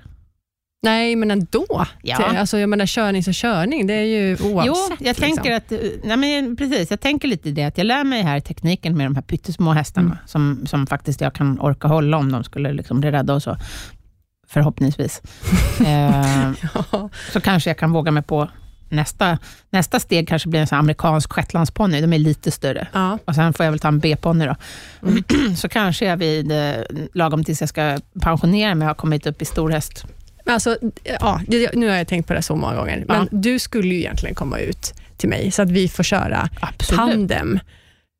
Speaker 1: Nej, men ändå.
Speaker 2: Ja.
Speaker 1: Det- Alltså, jag menar, körning så körning, det är ju oavsett.
Speaker 2: Jo, jag tänker
Speaker 1: liksom.
Speaker 2: att, eh, nej men precis, jag tänker lite i det att jag lär mig här tekniken med de här pyttesmå hästarna,
Speaker 1: Mm.
Speaker 2: som, som faktiskt jag kan orka hålla om de skulle liksom bli rädda och så. Förhoppningsvis. eh,
Speaker 1: Ja.
Speaker 2: så kanske jag kan våga mig på nästa, nästa steg kanske blir en sån här amerikansk shetlandsponny, de är lite större.
Speaker 1: Ja.
Speaker 2: Och sen Alltså, får jag väl ta en B-ponny då.
Speaker 1: Mm.
Speaker 2: Så kanske jag vid, eh, lagom tills jag ska pensionera mig har kommit upp i storhäst.
Speaker 1: Men Alltså, ja, det- nu har jag tänkt på det så många gånger, men du skulle ju egentligen komma ut till mig, så att vi får köra tandem.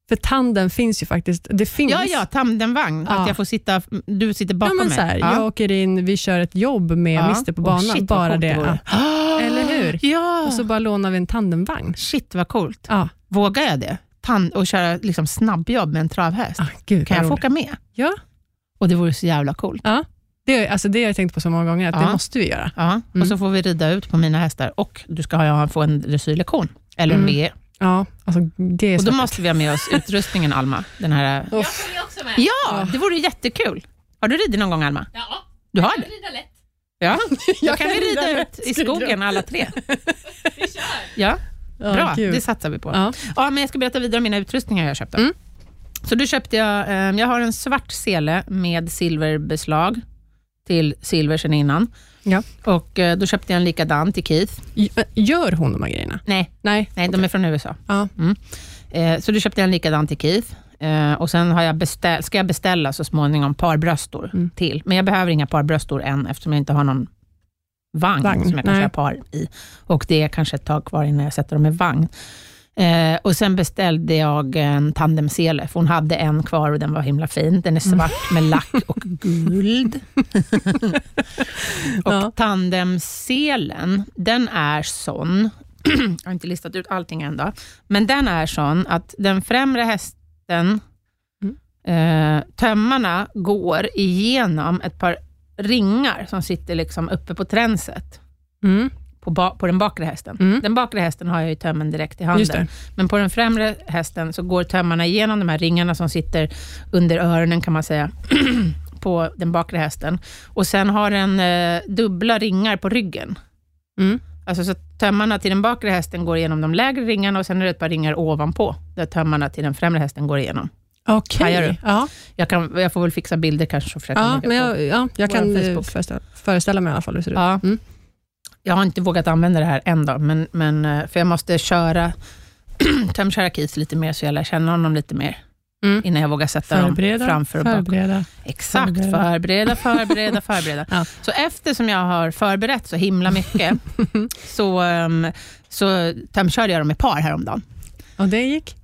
Speaker 1: För tandem finns ju faktiskt. Det finns.
Speaker 2: Ja, ja, tandemvagn.
Speaker 1: Ja.
Speaker 2: Att jag får sitta, du sitter
Speaker 1: Ja,
Speaker 2: bakom
Speaker 1: men
Speaker 2: mig.
Speaker 1: så här,
Speaker 2: Ja.
Speaker 1: Jag åker in, vi kör ett jobb med
Speaker 2: Ja.
Speaker 1: Mister på
Speaker 2: Åh,
Speaker 1: banan.
Speaker 2: shit, vad
Speaker 1: bara
Speaker 2: coolt
Speaker 1: det.
Speaker 2: det vore.
Speaker 1: ja. Eller hur?
Speaker 2: Ja,
Speaker 1: Och så bara lånar vi en tandemvagn.
Speaker 2: shit vad coolt.
Speaker 1: Ja.
Speaker 2: Vågar jag det? Tand och köra liksom snabbjobb med en travhäst?
Speaker 1: Ah, gud,
Speaker 2: kan
Speaker 1: vad
Speaker 2: jag få
Speaker 1: roligt.
Speaker 2: åka med?
Speaker 1: Ja.
Speaker 2: Och det vore så jävla coolt.
Speaker 1: det, alltså, det har jag tänkt på så många gånger, att
Speaker 2: Ja.
Speaker 1: det måste vi göra.
Speaker 2: Ja.
Speaker 1: Mm.
Speaker 2: Och så får vi rida ut på mina hästar och du ska ha- få en dressyrlektion. Eller en
Speaker 1: Mm.
Speaker 2: VE.
Speaker 1: Ja, alltså, det är
Speaker 2: Och då
Speaker 1: så...
Speaker 2: måste vi ha med oss utrustningen, Alma. Den här...
Speaker 3: Jag följer också med.
Speaker 2: Ja, det vore jättekul. Har du ridit någon gång, Alma?
Speaker 3: Ja,
Speaker 2: Du har
Speaker 3: jag
Speaker 2: det?
Speaker 3: kan rida lätt.
Speaker 2: Ja. Då
Speaker 1: Jag
Speaker 2: kan
Speaker 1: kan
Speaker 2: vi rida
Speaker 1: rida
Speaker 2: ut i
Speaker 1: rätt, tydligen.
Speaker 2: skogen alla tre.
Speaker 3: Vi kör.
Speaker 2: Ja,
Speaker 1: Ja,
Speaker 2: bra.
Speaker 1: gud.
Speaker 2: Det satsar vi på.
Speaker 1: Ja.
Speaker 2: Ja, men jag ska berätta vidare om mina utrustningar jag köpte.
Speaker 1: Mm.
Speaker 2: Så då köpte jag, ehm, jag har en svart sele med silverbeslag till silver sen innan.
Speaker 1: Ja.
Speaker 2: Och eh, då köpte jag en likadan till Keith.
Speaker 1: Gör hon de här grejerna?
Speaker 2: Nej,
Speaker 1: Nej.
Speaker 2: nej de är från USA.
Speaker 1: Ja.
Speaker 2: Mm. Eh, så då köpte jag en likadan till Keith. Eh, och sen har jag beställ, ska jag beställa så småningom parbröstor
Speaker 1: Mm.
Speaker 2: till. Men jag behöver inga parbröstor än, eftersom jag inte har någon vagn,
Speaker 1: Vagn,
Speaker 2: som jag kan
Speaker 1: nej.
Speaker 2: köra par i. Och det är kanske ett tag kvar innan jag sätter dem i vagn. Eh, och Sen beställde jag en tandemsele, för hon hade en kvar och den var himla fin. Den är
Speaker 1: Mm.
Speaker 2: svart med lack och guld. och
Speaker 1: Ja.
Speaker 2: tandemselen, den är sån, jag har inte listat ut allting än då, men den är sån att den främre hästen,
Speaker 1: Mm.
Speaker 2: eh, tömmarna går igenom ett par ringar som sitter liksom uppe på tränset
Speaker 1: Mm.
Speaker 2: på, ba- på den bakre hästen.
Speaker 1: Mm.
Speaker 2: Den bakre hästen har jag ju tömmen direkt i
Speaker 1: Just
Speaker 2: handen.
Speaker 1: det.
Speaker 2: Men på den främre hästen så går tömmarna igenom de här ringarna som sitter under öronen kan man säga, på den bakre hästen. Och sen har den eh, dubbla ringar på ryggen.
Speaker 1: Mm.
Speaker 2: Alltså så att tömmarna till den bakre hästen går igenom de lägre ringarna och sen är det ett par ringar ovanpå, där tömmarna till den främre hästen går igenom.
Speaker 1: Okej.
Speaker 2: Hajar du?
Speaker 1: Ja.
Speaker 2: Jag, kan, jag får väl fixa bilder kanske och försöka
Speaker 1: Ja,
Speaker 2: lägga
Speaker 1: men
Speaker 2: på.
Speaker 1: jag, ja, jag
Speaker 2: vår
Speaker 1: kan eh,
Speaker 2: Facebook.
Speaker 1: föreställa, föreställa mig i alla fall hur det ser ut.
Speaker 2: Ja.
Speaker 1: Mm.
Speaker 2: Jag har inte vågat använda det här än då, men, men, eh, för jag måste köra tömköra Keith lite mer, så jag lär känna honom lite mer,
Speaker 1: Mm.
Speaker 2: innan jag vågar sätta dem framför och bakom.
Speaker 1: förbereda.
Speaker 2: Exakt,
Speaker 1: förbereda.
Speaker 2: förbereda, förbereda, förbereda.
Speaker 1: Ja.
Speaker 2: Så eftersom jag har förberett så himla mycket, så, um, så tömkörde jag dem i par häromdagen.
Speaker 1: Och det gick?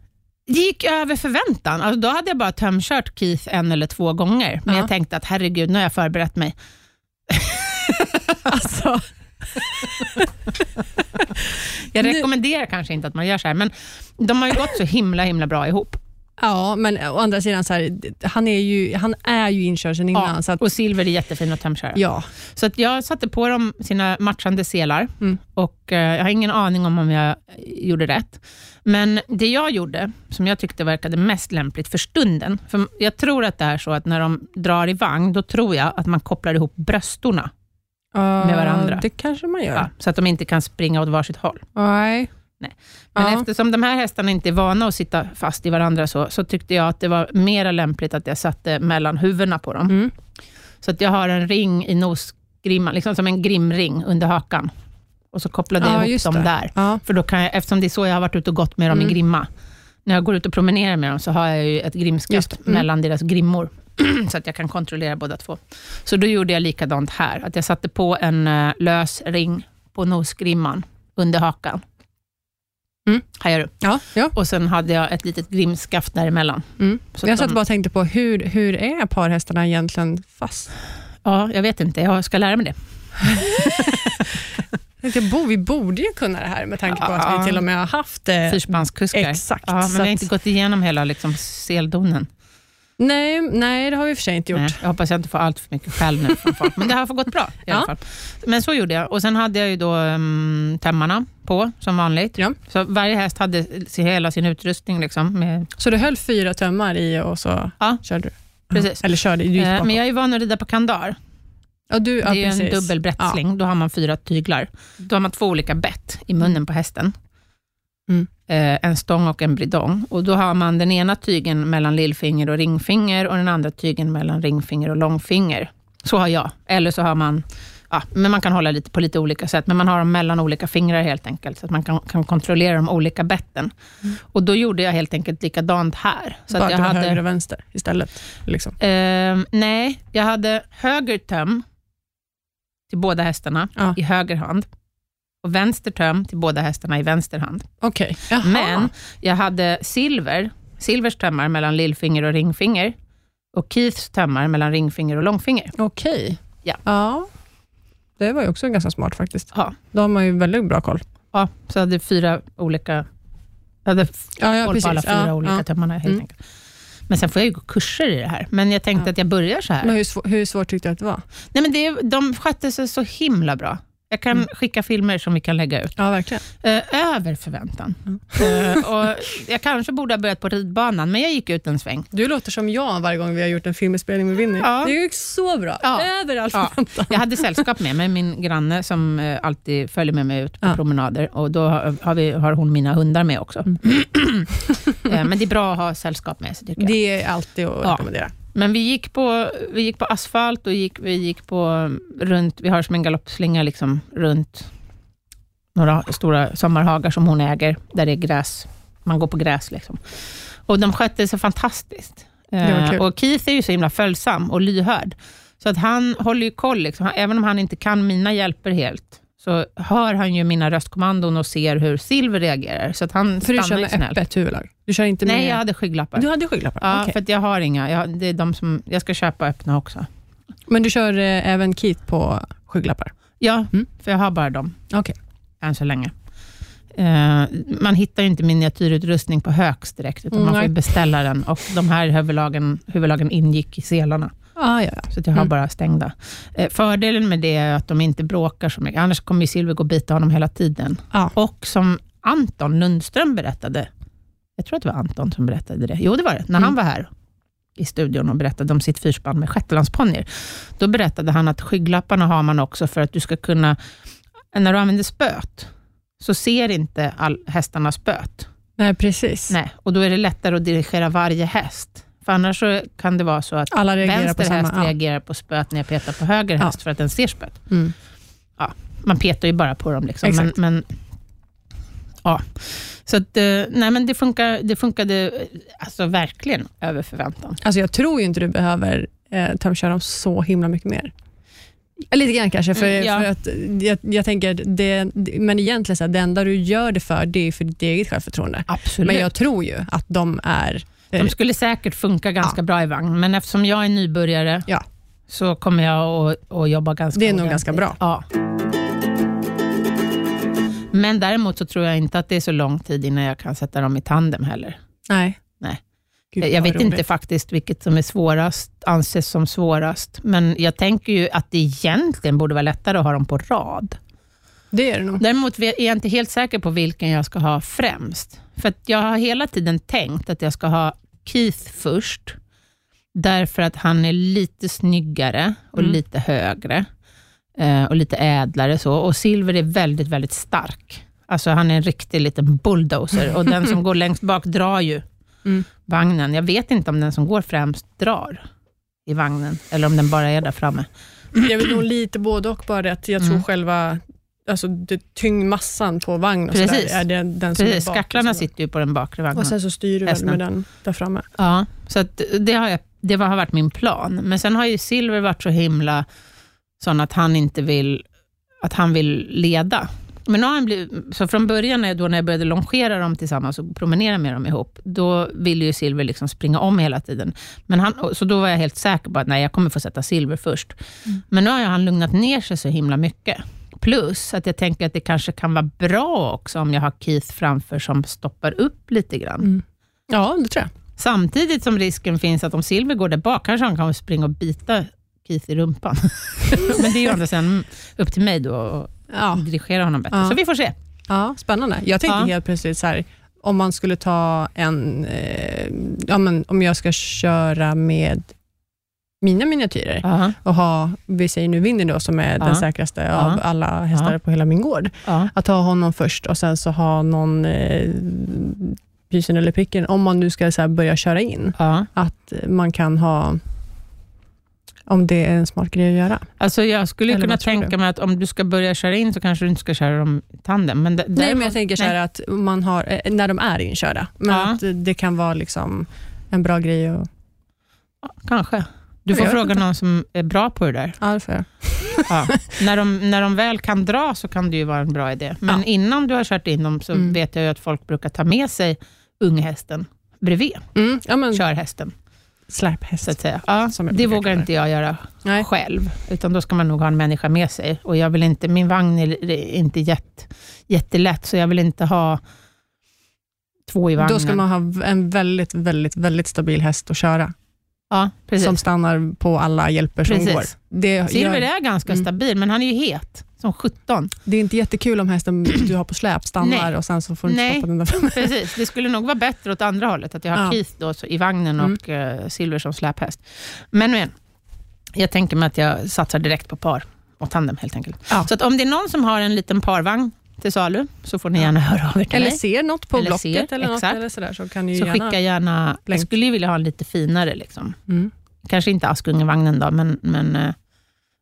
Speaker 2: Det gick över förväntan. Alltså, då hade jag bara tömkört Keith en eller två gånger, men
Speaker 1: Ja.
Speaker 2: jag tänkte att herregud, nu har jag förberett mig.
Speaker 1: Alltså,
Speaker 2: Jag
Speaker 1: Nu-
Speaker 2: rekommenderar kanske inte att man gör så här, men de har ju gått så himla himla bra ihop.
Speaker 1: Ja, men å andra sidan, så här, han, är ju, han är ju inkörseln innan.
Speaker 2: Ja,
Speaker 1: Så att,
Speaker 2: och silver är jättefin att hemskära.
Speaker 1: ja.
Speaker 2: Så att jag satte på dem sina matchande selar
Speaker 1: Mm.
Speaker 2: och eh, jag har ingen aning om om jag gjorde rätt. Men det jag gjorde, som jag tyckte verkade mest lämpligt för stunden, för jag tror att det är så att när de drar i vagn, då tror jag att man kopplar ihop bröstorna,
Speaker 1: Med
Speaker 2: varandra.
Speaker 1: Det kanske man gör.
Speaker 2: ja, så att de inte kan springa åt varsitt håll.
Speaker 1: Nej.
Speaker 2: Men
Speaker 1: Ja.
Speaker 2: eftersom de här hästarna inte är vana att sitta fast i varandra, så, så tyckte jag att det var mer lämpligt att jag satte mellan huvudena på dem.
Speaker 1: Mm.
Speaker 2: Så att jag har en ring i nosgrimman, liksom som en grimring under hakan. Och så kopplade
Speaker 1: Ja,
Speaker 2: jag ihop
Speaker 1: just
Speaker 2: dem
Speaker 1: det.
Speaker 2: där.
Speaker 1: Ja.
Speaker 2: För då kan jag, eftersom det är så jag har varit ute och gått med dem
Speaker 1: Mm.
Speaker 2: i grimma. När jag går ut och promenerar med dem, så har jag ju ett
Speaker 1: Just
Speaker 2: grimskaft
Speaker 1: det. Mm.
Speaker 2: mellan deras grimmor. så att jag kan kontrollera båda två. Så då gjorde jag likadant här. Att jag satte på en eh, lös ring på nosgrimman under hakan.
Speaker 1: Mm.
Speaker 2: Hajar du?
Speaker 1: Ja, ja.
Speaker 2: Och sen hade jag ett litet grimskaft däremellan.
Speaker 1: Mm.
Speaker 2: Så
Speaker 1: Jag
Speaker 2: att
Speaker 1: satt
Speaker 2: de-
Speaker 1: bara och tänkte på, hur, hur är parhästarna egentligen fast?
Speaker 2: Ja, jag vet inte. Jag ska lära mig det.
Speaker 1: Jag tänkte, bo, vi borde ju kunna det här med tanke på
Speaker 2: Ja.
Speaker 1: att vi till och med har haft eh,
Speaker 2: Fyrspanskuskar.
Speaker 1: Exakt.
Speaker 2: Ja, men
Speaker 1: så
Speaker 2: vi har
Speaker 1: att-
Speaker 2: inte gått igenom hela liksom, seldonen.
Speaker 1: nej, nej, det har vi i och för sig inte gjort.
Speaker 2: Nej, jag hoppas jag inte får allt för mycket skäll nu från folk. Men det har fått gått bra i alla
Speaker 1: Ja.
Speaker 2: fall. Men så gjorde jag. Och sen hade jag ju då um, tämmarna på, som vanligt.
Speaker 1: Ja.
Speaker 2: Så varje häst hade sin- hela sin utrustning. Liksom, med,
Speaker 1: Så du höll fyra tömmar i och så
Speaker 2: Ja.
Speaker 1: körde du?
Speaker 2: Precis.
Speaker 1: Eller körde, du gick
Speaker 2: Eh,
Speaker 1: bakom.
Speaker 2: men jag är van att rida på kandar.
Speaker 1: ja, du, ja,
Speaker 2: det är ju en
Speaker 1: precis.
Speaker 2: dubbel brättsling. Då har man fyra tyglar. Då har man två olika bett i munnen på hästen.
Speaker 1: Mm.
Speaker 2: Eh, en stång och en bridong. Och då har man den ena tygen mellan lillfinger och ringfinger och den andra tygen mellan ringfinger och långfinger. Så har jag. Eller så har man, ja, men man kan hålla lite på lite olika sätt, men man har dem mellan olika fingrar helt enkelt, så att man kan, kan kontrollera de olika betten. Och då gjorde jag helt enkelt likadant här. Så
Speaker 1: Mm. Bara
Speaker 2: att
Speaker 1: att
Speaker 2: jag
Speaker 1: du har
Speaker 2: hade,
Speaker 1: höger och vänster istället. Liksom.
Speaker 2: Ehm, nej, jag hade höger töm till båda hästarna
Speaker 1: Ja.
Speaker 2: i höger hand och vänster töm till båda hästarna i vänster hand.
Speaker 1: Okej. Jaha.
Speaker 2: Men jag hade silver, silvers tömmar mellan lillfinger och ringfinger och Keiths tömmar mellan ringfinger och långfinger.
Speaker 1: Okej.
Speaker 2: Ja.
Speaker 1: ja. Det var ju också ganska smart faktiskt.
Speaker 2: Ja,
Speaker 1: Då har man ju väldigt bra koll.
Speaker 2: ja så jag hade fyra olika... Jag hade f-
Speaker 1: Ja, ja,
Speaker 2: koll på alla fyra olika tömmarna helt
Speaker 1: Mm.
Speaker 2: enkelt. Men sen får jag ju gå kurser i det här, men jag tänkte
Speaker 1: Ja.
Speaker 2: att jag börjar så här.
Speaker 1: Men hur, svår, hur svårt tyckte du att det var?
Speaker 2: Nej, men det, de skötte sig så himla bra. Jag kan
Speaker 1: Mm.
Speaker 2: skicka filmer som vi kan lägga ut.
Speaker 1: Ja, verkligen.
Speaker 2: Eh, över förväntan.
Speaker 1: Mm.
Speaker 2: Eh, och jag kanske borde ha börjat på ridbanan, men jag gick ut en sväng.
Speaker 1: Du låter som jag varje gång vi har gjort en filminspelning med Winnie.
Speaker 2: Ja.
Speaker 1: Det gick så bra.
Speaker 2: Ja.
Speaker 1: Överallt.
Speaker 2: Ja. Jag hade sällskap med mig, min granne som eh, alltid följer med mig ut på
Speaker 1: Ja.
Speaker 2: promenader. Och Då har, har vi, har hon mina hundar med också.
Speaker 1: Mm.
Speaker 2: Eh, men det är bra att ha sällskap med sig, tycker jag.
Speaker 1: Det är alltid att
Speaker 2: Ja.
Speaker 1: rekommendera.
Speaker 2: Men vi gick på, vi gick på asfalt och gick, vi gick på um, runt, vi har som en galoppslinga liksom, runt några stora sommarhagar som hon äger, där det är gräs. Man går på gräs. Liksom. Och de skötte sig fantastiskt.
Speaker 1: var
Speaker 2: Eh,
Speaker 1: kul.
Speaker 2: och Keith är ju så himla följsam och lyhörd. Så att han håller ju koll. Liksom. Han- Även om han inte kan mina hjälper helt, så hör han ju mina röstkommandon och ser hur Silver reagerar. Så att han
Speaker 1: För du
Speaker 2: stannar
Speaker 1: kör
Speaker 2: ju
Speaker 1: med
Speaker 2: snällt.
Speaker 1: öppet huvudlag? Du kör inte
Speaker 2: Nej, jag
Speaker 1: med...
Speaker 2: hade skygglappar.
Speaker 1: Du hade skygglappar?
Speaker 2: Ja,
Speaker 1: Okej.
Speaker 2: för att jag har inga. Jag, det är de som, jag ska köpa öppna också.
Speaker 1: Men du kör eh, även kit på skygglappar?
Speaker 2: Ja,
Speaker 1: Mm.
Speaker 2: för jag har bara dem
Speaker 1: Okej.
Speaker 2: än så länge. Eh, man hittar ju inte miniatyrutrustning på Hööks direkt, utan
Speaker 1: Mm,
Speaker 2: man får ju
Speaker 1: nej.
Speaker 2: beställa den. Och de här huvudlagen, huvudlagen ingick i selarna,
Speaker 1: Ah, ja, ja.
Speaker 2: så att jag har
Speaker 1: Mm.
Speaker 2: bara stängda. Eh, fördelen med det är att de inte bråkar så mycket, annars kommer ju Silver gå och bita honom hela tiden.
Speaker 1: Ja.
Speaker 2: Och som Anton Lundström berättade, jag tror att det var Anton som berättade det. Jo, det var det. När han
Speaker 1: Mm.
Speaker 2: var här i studion och berättade om sitt fyrspann med shetlandsponnyer, då berättade han att skygglapparna har man också för att du ska kunna, när du använder spöet, så ser inte all, hästarna spöet.
Speaker 1: Nej, precis.
Speaker 2: Nej, och då är det lättare att dirigera varje häst. För annars så kan det vara så att
Speaker 1: Alla reagerar på
Speaker 2: vänster häst
Speaker 1: samma. Ja.
Speaker 2: reagerar på spöet när jag petar på höger
Speaker 1: Ja.
Speaker 2: häst för att den ser spöet
Speaker 1: Mm.
Speaker 2: man petar ju bara på dem. Liksom. Men,
Speaker 1: Exakt.
Speaker 2: men, ja. Så att, eh, nej, men det, funkar, det funkade eh, alltså, verkligen över förväntan.
Speaker 1: Alltså, jag tror ju inte du behöver eh, tömköra dem så himla mycket mer. Eh, Lite grann kanske, för,
Speaker 2: Mm, ja.
Speaker 1: för att jag, jag tänker, att det, det- men egentligen så här, det enda du gör det för, det är för ditt eget självförtroende.
Speaker 2: Absolut.
Speaker 1: Men jag tror ju att de är...
Speaker 2: De skulle säkert funka ganska bra i vagn, men eftersom jag är nybörjare
Speaker 1: Ja.
Speaker 2: så kommer jag att, att jobba ganska
Speaker 1: Det är nog
Speaker 2: ordentligt.
Speaker 1: ganska bra.
Speaker 2: Ja. Men däremot så tror jag inte att det är så lång tid innan jag kan sätta dem i tandem heller.
Speaker 1: Nej. Gud,
Speaker 2: jag
Speaker 1: vad
Speaker 2: vet
Speaker 1: roligt.
Speaker 2: inte faktiskt vilket som är svårast, anses som svårast, men jag tänker ju att det egentligen borde vara lättare att ha dem på rad.
Speaker 1: Det är det nog.
Speaker 2: Däremot är jag inte helt säker på vilken jag ska ha främst. För att jag har hela tiden tänkt att jag ska ha Keith först, därför att han är lite snyggare och
Speaker 1: Mm.
Speaker 2: lite högre eh, och lite ädlare. Så. Och Silver är väldigt, väldigt stark. Alltså han är en riktig liten bulldozer och den som går längst bak drar ju
Speaker 1: Mm.
Speaker 2: vagnen. Jag vet inte om den som går främst drar i vagnen, eller om den bara är där framme.
Speaker 1: Jag vill nog lite både och, bara det att jag tror
Speaker 2: Mm.
Speaker 1: själva alltså, det, tyngdmassan på vagn och så
Speaker 2: Precis.
Speaker 1: där är det den som
Speaker 2: Precis,
Speaker 1: är bak.
Speaker 2: skaklarna sitter ju på den bakre vagnen.
Speaker 1: Och sen så styr du väl
Speaker 2: Hästen.
Speaker 1: med den där framme.
Speaker 2: Ja, så att det, har jag, det har varit min plan. Men sen har ju Silver varit så himla sån att han inte vill, att han vill leda. Men nu har han blivit, så från början när jag, då när jag började longera dem tillsammans och promenera med dem ihop, då ville ju Silver liksom springa om hela tiden. Men han, och- så då var jag helt säker på att nej, jag kommer få sätta Silver först. Men nu har ju han lugnat ner sig så himla mycket. Plus att jag tänker att det kanske kan vara bra också om jag har Keith framför som stoppar upp lite grann.
Speaker 1: Mm. Ja, det tror jag.
Speaker 2: Samtidigt som risken finns att om Silver går där bak kanske han kan springa och bita Keith i rumpan. Men det är ju ändå sen upp till mig då att
Speaker 1: Ja,
Speaker 2: dirigera honom bättre.
Speaker 1: Ja.
Speaker 2: Så vi får se.
Speaker 1: ja spännande. Jag tänkte
Speaker 2: Ja.
Speaker 1: helt plötsligt så här, om man skulle ta en, eh, ja, men om jag ska köra med mina miniatyrer
Speaker 2: Ja.
Speaker 1: och ha, vi säger nu Winnie då, som är
Speaker 2: Ja.
Speaker 1: den säkraste av
Speaker 2: Ja.
Speaker 1: alla hästar
Speaker 2: Ja.
Speaker 1: på hela min gård.
Speaker 2: Ja.
Speaker 1: Att ha honom först och sen så ha någon eh, pysen eller picken, om man nu ska så här börja köra in.
Speaker 2: Ja.
Speaker 1: Att man kan ha, om det är en smart grej att göra.
Speaker 2: Alltså jag skulle ju
Speaker 1: Eller
Speaker 2: kunna
Speaker 1: vad tror
Speaker 2: tänka
Speaker 1: du?
Speaker 2: mig att om du ska börja köra in så kanske du inte ska köra dem i tandem. Men d-
Speaker 1: Nej, men
Speaker 2: däremot-
Speaker 1: jag tänker så här att man har, eh, när de är inkörda, men
Speaker 2: Ja.
Speaker 1: att det kan vara liksom en bra grej att...
Speaker 2: Ja, Kanske. Du får
Speaker 1: Jag vet
Speaker 2: fråga någon som är bra på det där.
Speaker 1: Ja, det får jag.
Speaker 2: Ja. när, de, när de väl kan dra så kan det ju vara en bra idé. Men
Speaker 1: Ja.
Speaker 2: innan du har kört in dem så
Speaker 1: Mm.
Speaker 2: vet jag ju att folk brukar ta med sig unghästen bredvid
Speaker 1: Mm, ja, men
Speaker 2: körhästen.
Speaker 1: släphäst.
Speaker 2: så att säga. Ja,
Speaker 1: Som jag
Speaker 2: det
Speaker 1: brukar
Speaker 2: vågar
Speaker 1: kalla det.
Speaker 2: inte jag göra
Speaker 1: Nej.
Speaker 2: själv, utan då ska man nog ha en människa med sig. Och jag vill inte, min vagn är inte jätt, jättelätt, så jag vill inte ha två i vagnen.
Speaker 1: Då ska man ha en väldigt, väldigt, väldigt stabil häst att köra,
Speaker 2: ja, precis.
Speaker 1: som stannar på alla hjälper som
Speaker 2: Precis.
Speaker 1: går. Det,
Speaker 2: Silver
Speaker 1: gör,
Speaker 2: är ganska
Speaker 1: Mm.
Speaker 2: stabil, men han är ju het som 17.
Speaker 1: det är inte jättekul om hästen du har på släp stannar
Speaker 2: Nej.
Speaker 1: och sen så får du inte
Speaker 2: Nej.
Speaker 1: stoppa den där framme.
Speaker 2: Precis, det skulle nog vara bättre åt andra hållet, att jag har
Speaker 1: Ja.
Speaker 2: Keith då, så, i vagnen
Speaker 1: Mm.
Speaker 2: och eh, Silver som släphäst. Men, men jag tänker mig att jag satsar direkt på par och tandem helt enkelt.
Speaker 1: Ja.
Speaker 2: Så att om det är någon som har en liten parvagn till salu, så får ni gärna höra av er till
Speaker 1: Eller
Speaker 2: mig.
Speaker 1: ser något på
Speaker 2: Eller
Speaker 1: Blocket
Speaker 2: ser,
Speaker 1: eller något
Speaker 2: exakt.
Speaker 1: eller sådär, så kan ni ju
Speaker 2: Så
Speaker 1: gärna...
Speaker 2: skicka gärna, jag
Speaker 1: länk.
Speaker 2: skulle ju vilja ha en lite finare, liksom.
Speaker 1: Mm.
Speaker 2: kanske inte Askungevagnen då, men, men, eh,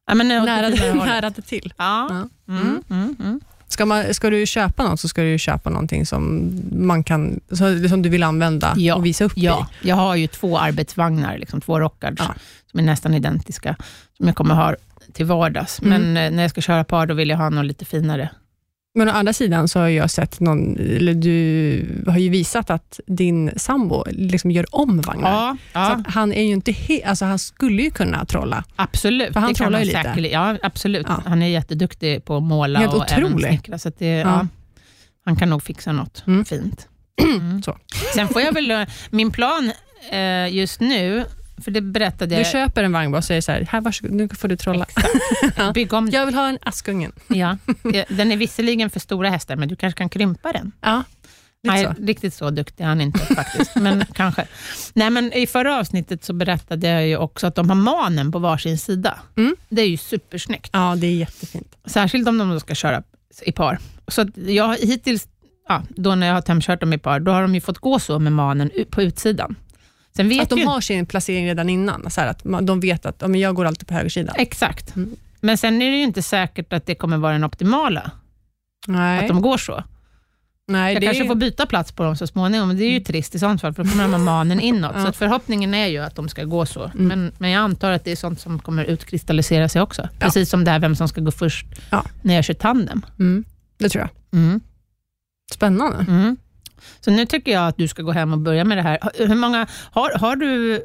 Speaker 2: ja, men eh, åt det
Speaker 1: Nära,
Speaker 2: finare
Speaker 1: det,
Speaker 2: hållet.
Speaker 1: nära det till.
Speaker 2: Ja.
Speaker 1: Ja.
Speaker 2: Mm, mm, mm.
Speaker 1: Ska, man, ska du köpa något så ska du ju köpa någonting som, man kan, så- som du vill använda
Speaker 2: Ja.
Speaker 1: och visa upp i.
Speaker 2: ja, jag har ju två arbetsvagnar, liksom, två rockards,
Speaker 1: Ja.
Speaker 2: som är nästan identiska, som jag kommer ha till vardags.
Speaker 1: Mm.
Speaker 2: Men eh, när jag ska köra par, då vill jag ha något lite finare.
Speaker 1: Men å andra sidan så har jag sett någon, eller du har ju visat att din sambo liksom gör om vagnar.
Speaker 2: Ja,
Speaker 1: Så
Speaker 2: ja
Speaker 1: att han är ju inte he- alltså han skulle ju kunna trolla.
Speaker 2: absolut.
Speaker 1: För han
Speaker 2: Det kan
Speaker 1: trollar ju
Speaker 2: man
Speaker 1: lite.
Speaker 2: säkerligen- Ja, absolut.
Speaker 1: Ja.
Speaker 2: Han är jätteduktig på att måla
Speaker 1: Helt
Speaker 2: och även
Speaker 1: otrolig.
Speaker 2: snickra. Så att det, ja.
Speaker 1: Ja.
Speaker 2: han kan nog fixa något
Speaker 1: Mm.
Speaker 2: fint. Mm.
Speaker 1: Så.
Speaker 2: Sen får jag väl, min plan eh, just nu, för det berättade
Speaker 1: Du
Speaker 2: jag,
Speaker 1: köper en vagn bara och säger så här, här varsågod, nu får du trolla.
Speaker 2: bygg om
Speaker 1: Jag vill ha en Askungen.
Speaker 2: Ja. Eh, Den är visserligen för stora hästar, men du kanske kan krympa den.
Speaker 1: Ja, lite
Speaker 2: Nej,
Speaker 1: så.
Speaker 2: riktigt så duktig är han inte faktiskt, men kanske. Nej, men I förra avsnittet så berättade jag ju också att de har manen på varsin sida.
Speaker 1: Mm.
Speaker 2: Det är ju supersnyggt,
Speaker 1: Ja, det är jättefint.
Speaker 2: särskilt om de då ska köra i par. Så att jag har hittills, ja, då när jag har tämjkört dem i par, då har de ju fått gå så med manen u- på utsidan. Sen vet
Speaker 1: Att de
Speaker 2: ju
Speaker 1: har sin placering redan innan, så här att man, de vet att ja, men jag går alltid på högersidan.
Speaker 2: Exakt.
Speaker 1: Mm.
Speaker 2: Men sen är det ju inte säkert att det kommer vara den optimala,
Speaker 1: Nej,
Speaker 2: att de går så.
Speaker 1: nej
Speaker 2: Jag
Speaker 1: det
Speaker 2: kanske
Speaker 1: är, Mm.
Speaker 2: får byta plats på dem så småningom, men det är ju trist i sånt fall, för då kommer de ha manen inåt.
Speaker 1: Ja.
Speaker 2: Så att förhoppningen är ju att de ska gå så.
Speaker 1: Mm.
Speaker 2: Men, men jag antar att det är sånt som kommer utkristallisera sig också. Precis som det här vem som ska gå först
Speaker 1: Ja.
Speaker 2: när jag kör tandem.
Speaker 1: mm, det tror jag.
Speaker 2: Mm.
Speaker 1: Spännande.
Speaker 2: Mm. Så nu tycker jag att du ska gå hem och börja med det här. Hur många, har, har du eh,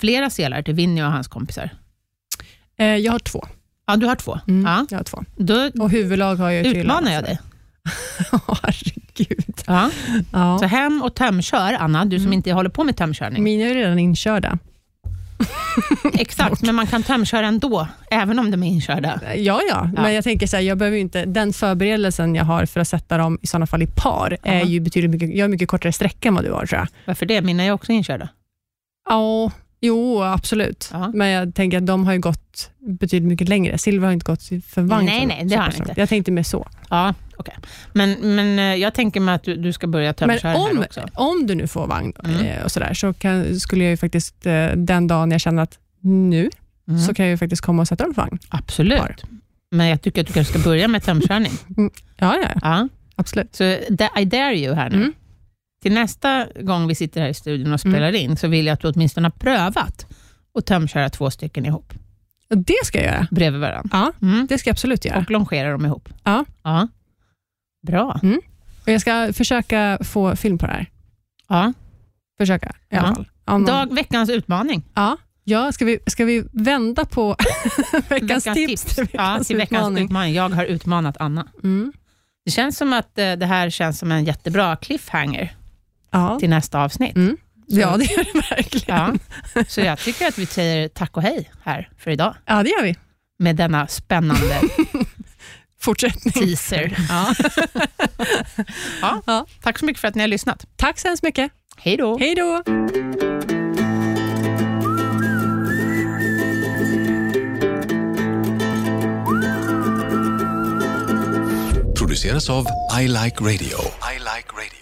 Speaker 2: flera selar till Vinny och hans kompisar?
Speaker 1: Eh, jag har två.
Speaker 2: Ja, du har två.
Speaker 1: Mm,
Speaker 2: Ja.
Speaker 1: Jag har två.
Speaker 2: Då
Speaker 1: Och huvudlag har jag ju till
Speaker 2: utmanar
Speaker 1: alla,
Speaker 2: jag dig.
Speaker 1: så- Herregud.
Speaker 2: Ja.
Speaker 1: Ja.
Speaker 2: Så hem och tömkör, Anna, du som
Speaker 1: Mm.
Speaker 2: inte håller på med tömkörning.
Speaker 1: Mina är ju redan inkörda.
Speaker 2: Exakt, men man kan tömköra ändå, även om de är inkörda.
Speaker 1: Ja, ja, men jag tänker så här, jag behöver ju inte, den förberedelsen jag har för att sätta dem i sådana fall i par, är
Speaker 2: Aha.
Speaker 1: ju betydligt mycket, jag har mycket kortare sträcka än vad du har tror jag.
Speaker 2: Varför det? Mina är också inkörda.
Speaker 1: Ja, jo absolut.
Speaker 2: Ja.
Speaker 1: Men jag tänker att de har ju gått betydligt mycket längre. Silver har inte gått för vagn.
Speaker 2: Nej,
Speaker 1: så-
Speaker 2: nej, det
Speaker 1: så
Speaker 2: har
Speaker 1: pass
Speaker 2: han inte.
Speaker 1: långt. Jag tänkte mer så.
Speaker 2: Ja, okej. Men, men eh, jag tänker mig att du, du ska börja
Speaker 1: Men
Speaker 2: tömköra här
Speaker 1: om,
Speaker 2: också.
Speaker 1: om du nu får vagn
Speaker 2: Mm.
Speaker 1: eh, och sådär, så kan, skulle jag ju faktiskt eh, den dagen jag känner att nu,
Speaker 2: Mm.
Speaker 1: så kan jag ju faktiskt komma och sätta dem på vagn.
Speaker 2: Absolut.
Speaker 1: Par.
Speaker 2: Men jag tycker att du kanske ska börja med tömkörning.
Speaker 1: Ja, ja, ja,
Speaker 2: ja.
Speaker 1: absolut.
Speaker 2: Så da- I dare you här nu.
Speaker 1: Mm.
Speaker 2: Till nästa gång vi sitter här i studion och spelar
Speaker 1: Mm.
Speaker 2: in, så vill jag att du åtminstone har prövat att tömköra två stycken ihop,
Speaker 1: Och det ska jag göra.
Speaker 2: bredvid varandra.
Speaker 1: Ja,
Speaker 2: Mm.
Speaker 1: det ska jag absolut göra.
Speaker 2: Och longera dem ihop.
Speaker 1: Ja.
Speaker 2: ja. Bra.
Speaker 1: Och jag ska försöka få film på det här.
Speaker 2: Ja.
Speaker 1: Försöka i alla
Speaker 2: Ja.
Speaker 1: fall. Om någon-
Speaker 2: Dag, veckans utmaning.
Speaker 1: Ja. Ja, ska, vi, ska vi vända på veckans, tips till veckans,
Speaker 2: ja, till veckans utmaning.
Speaker 1: utmaning?
Speaker 2: Jag har utmanat Anna.
Speaker 1: Mm.
Speaker 2: Det känns som att eh, det här känns som en jättebra cliffhanger
Speaker 1: Ja.
Speaker 2: till nästa avsnitt.
Speaker 1: ja, det gör det verkligen.
Speaker 2: Ja. Så jag tycker att vi säger tack och hej här för idag
Speaker 1: Ja, det gör vi.
Speaker 2: med denna spännande
Speaker 1: Fortsättning.
Speaker 2: teaser. Ja.
Speaker 1: Ja.
Speaker 2: Ja. Tack så mycket för att ni har lyssnat.
Speaker 1: Tack så hemskt mycket.
Speaker 2: Hej då.
Speaker 1: Hej då!
Speaker 4: produceras av I Like Radio. I like radio.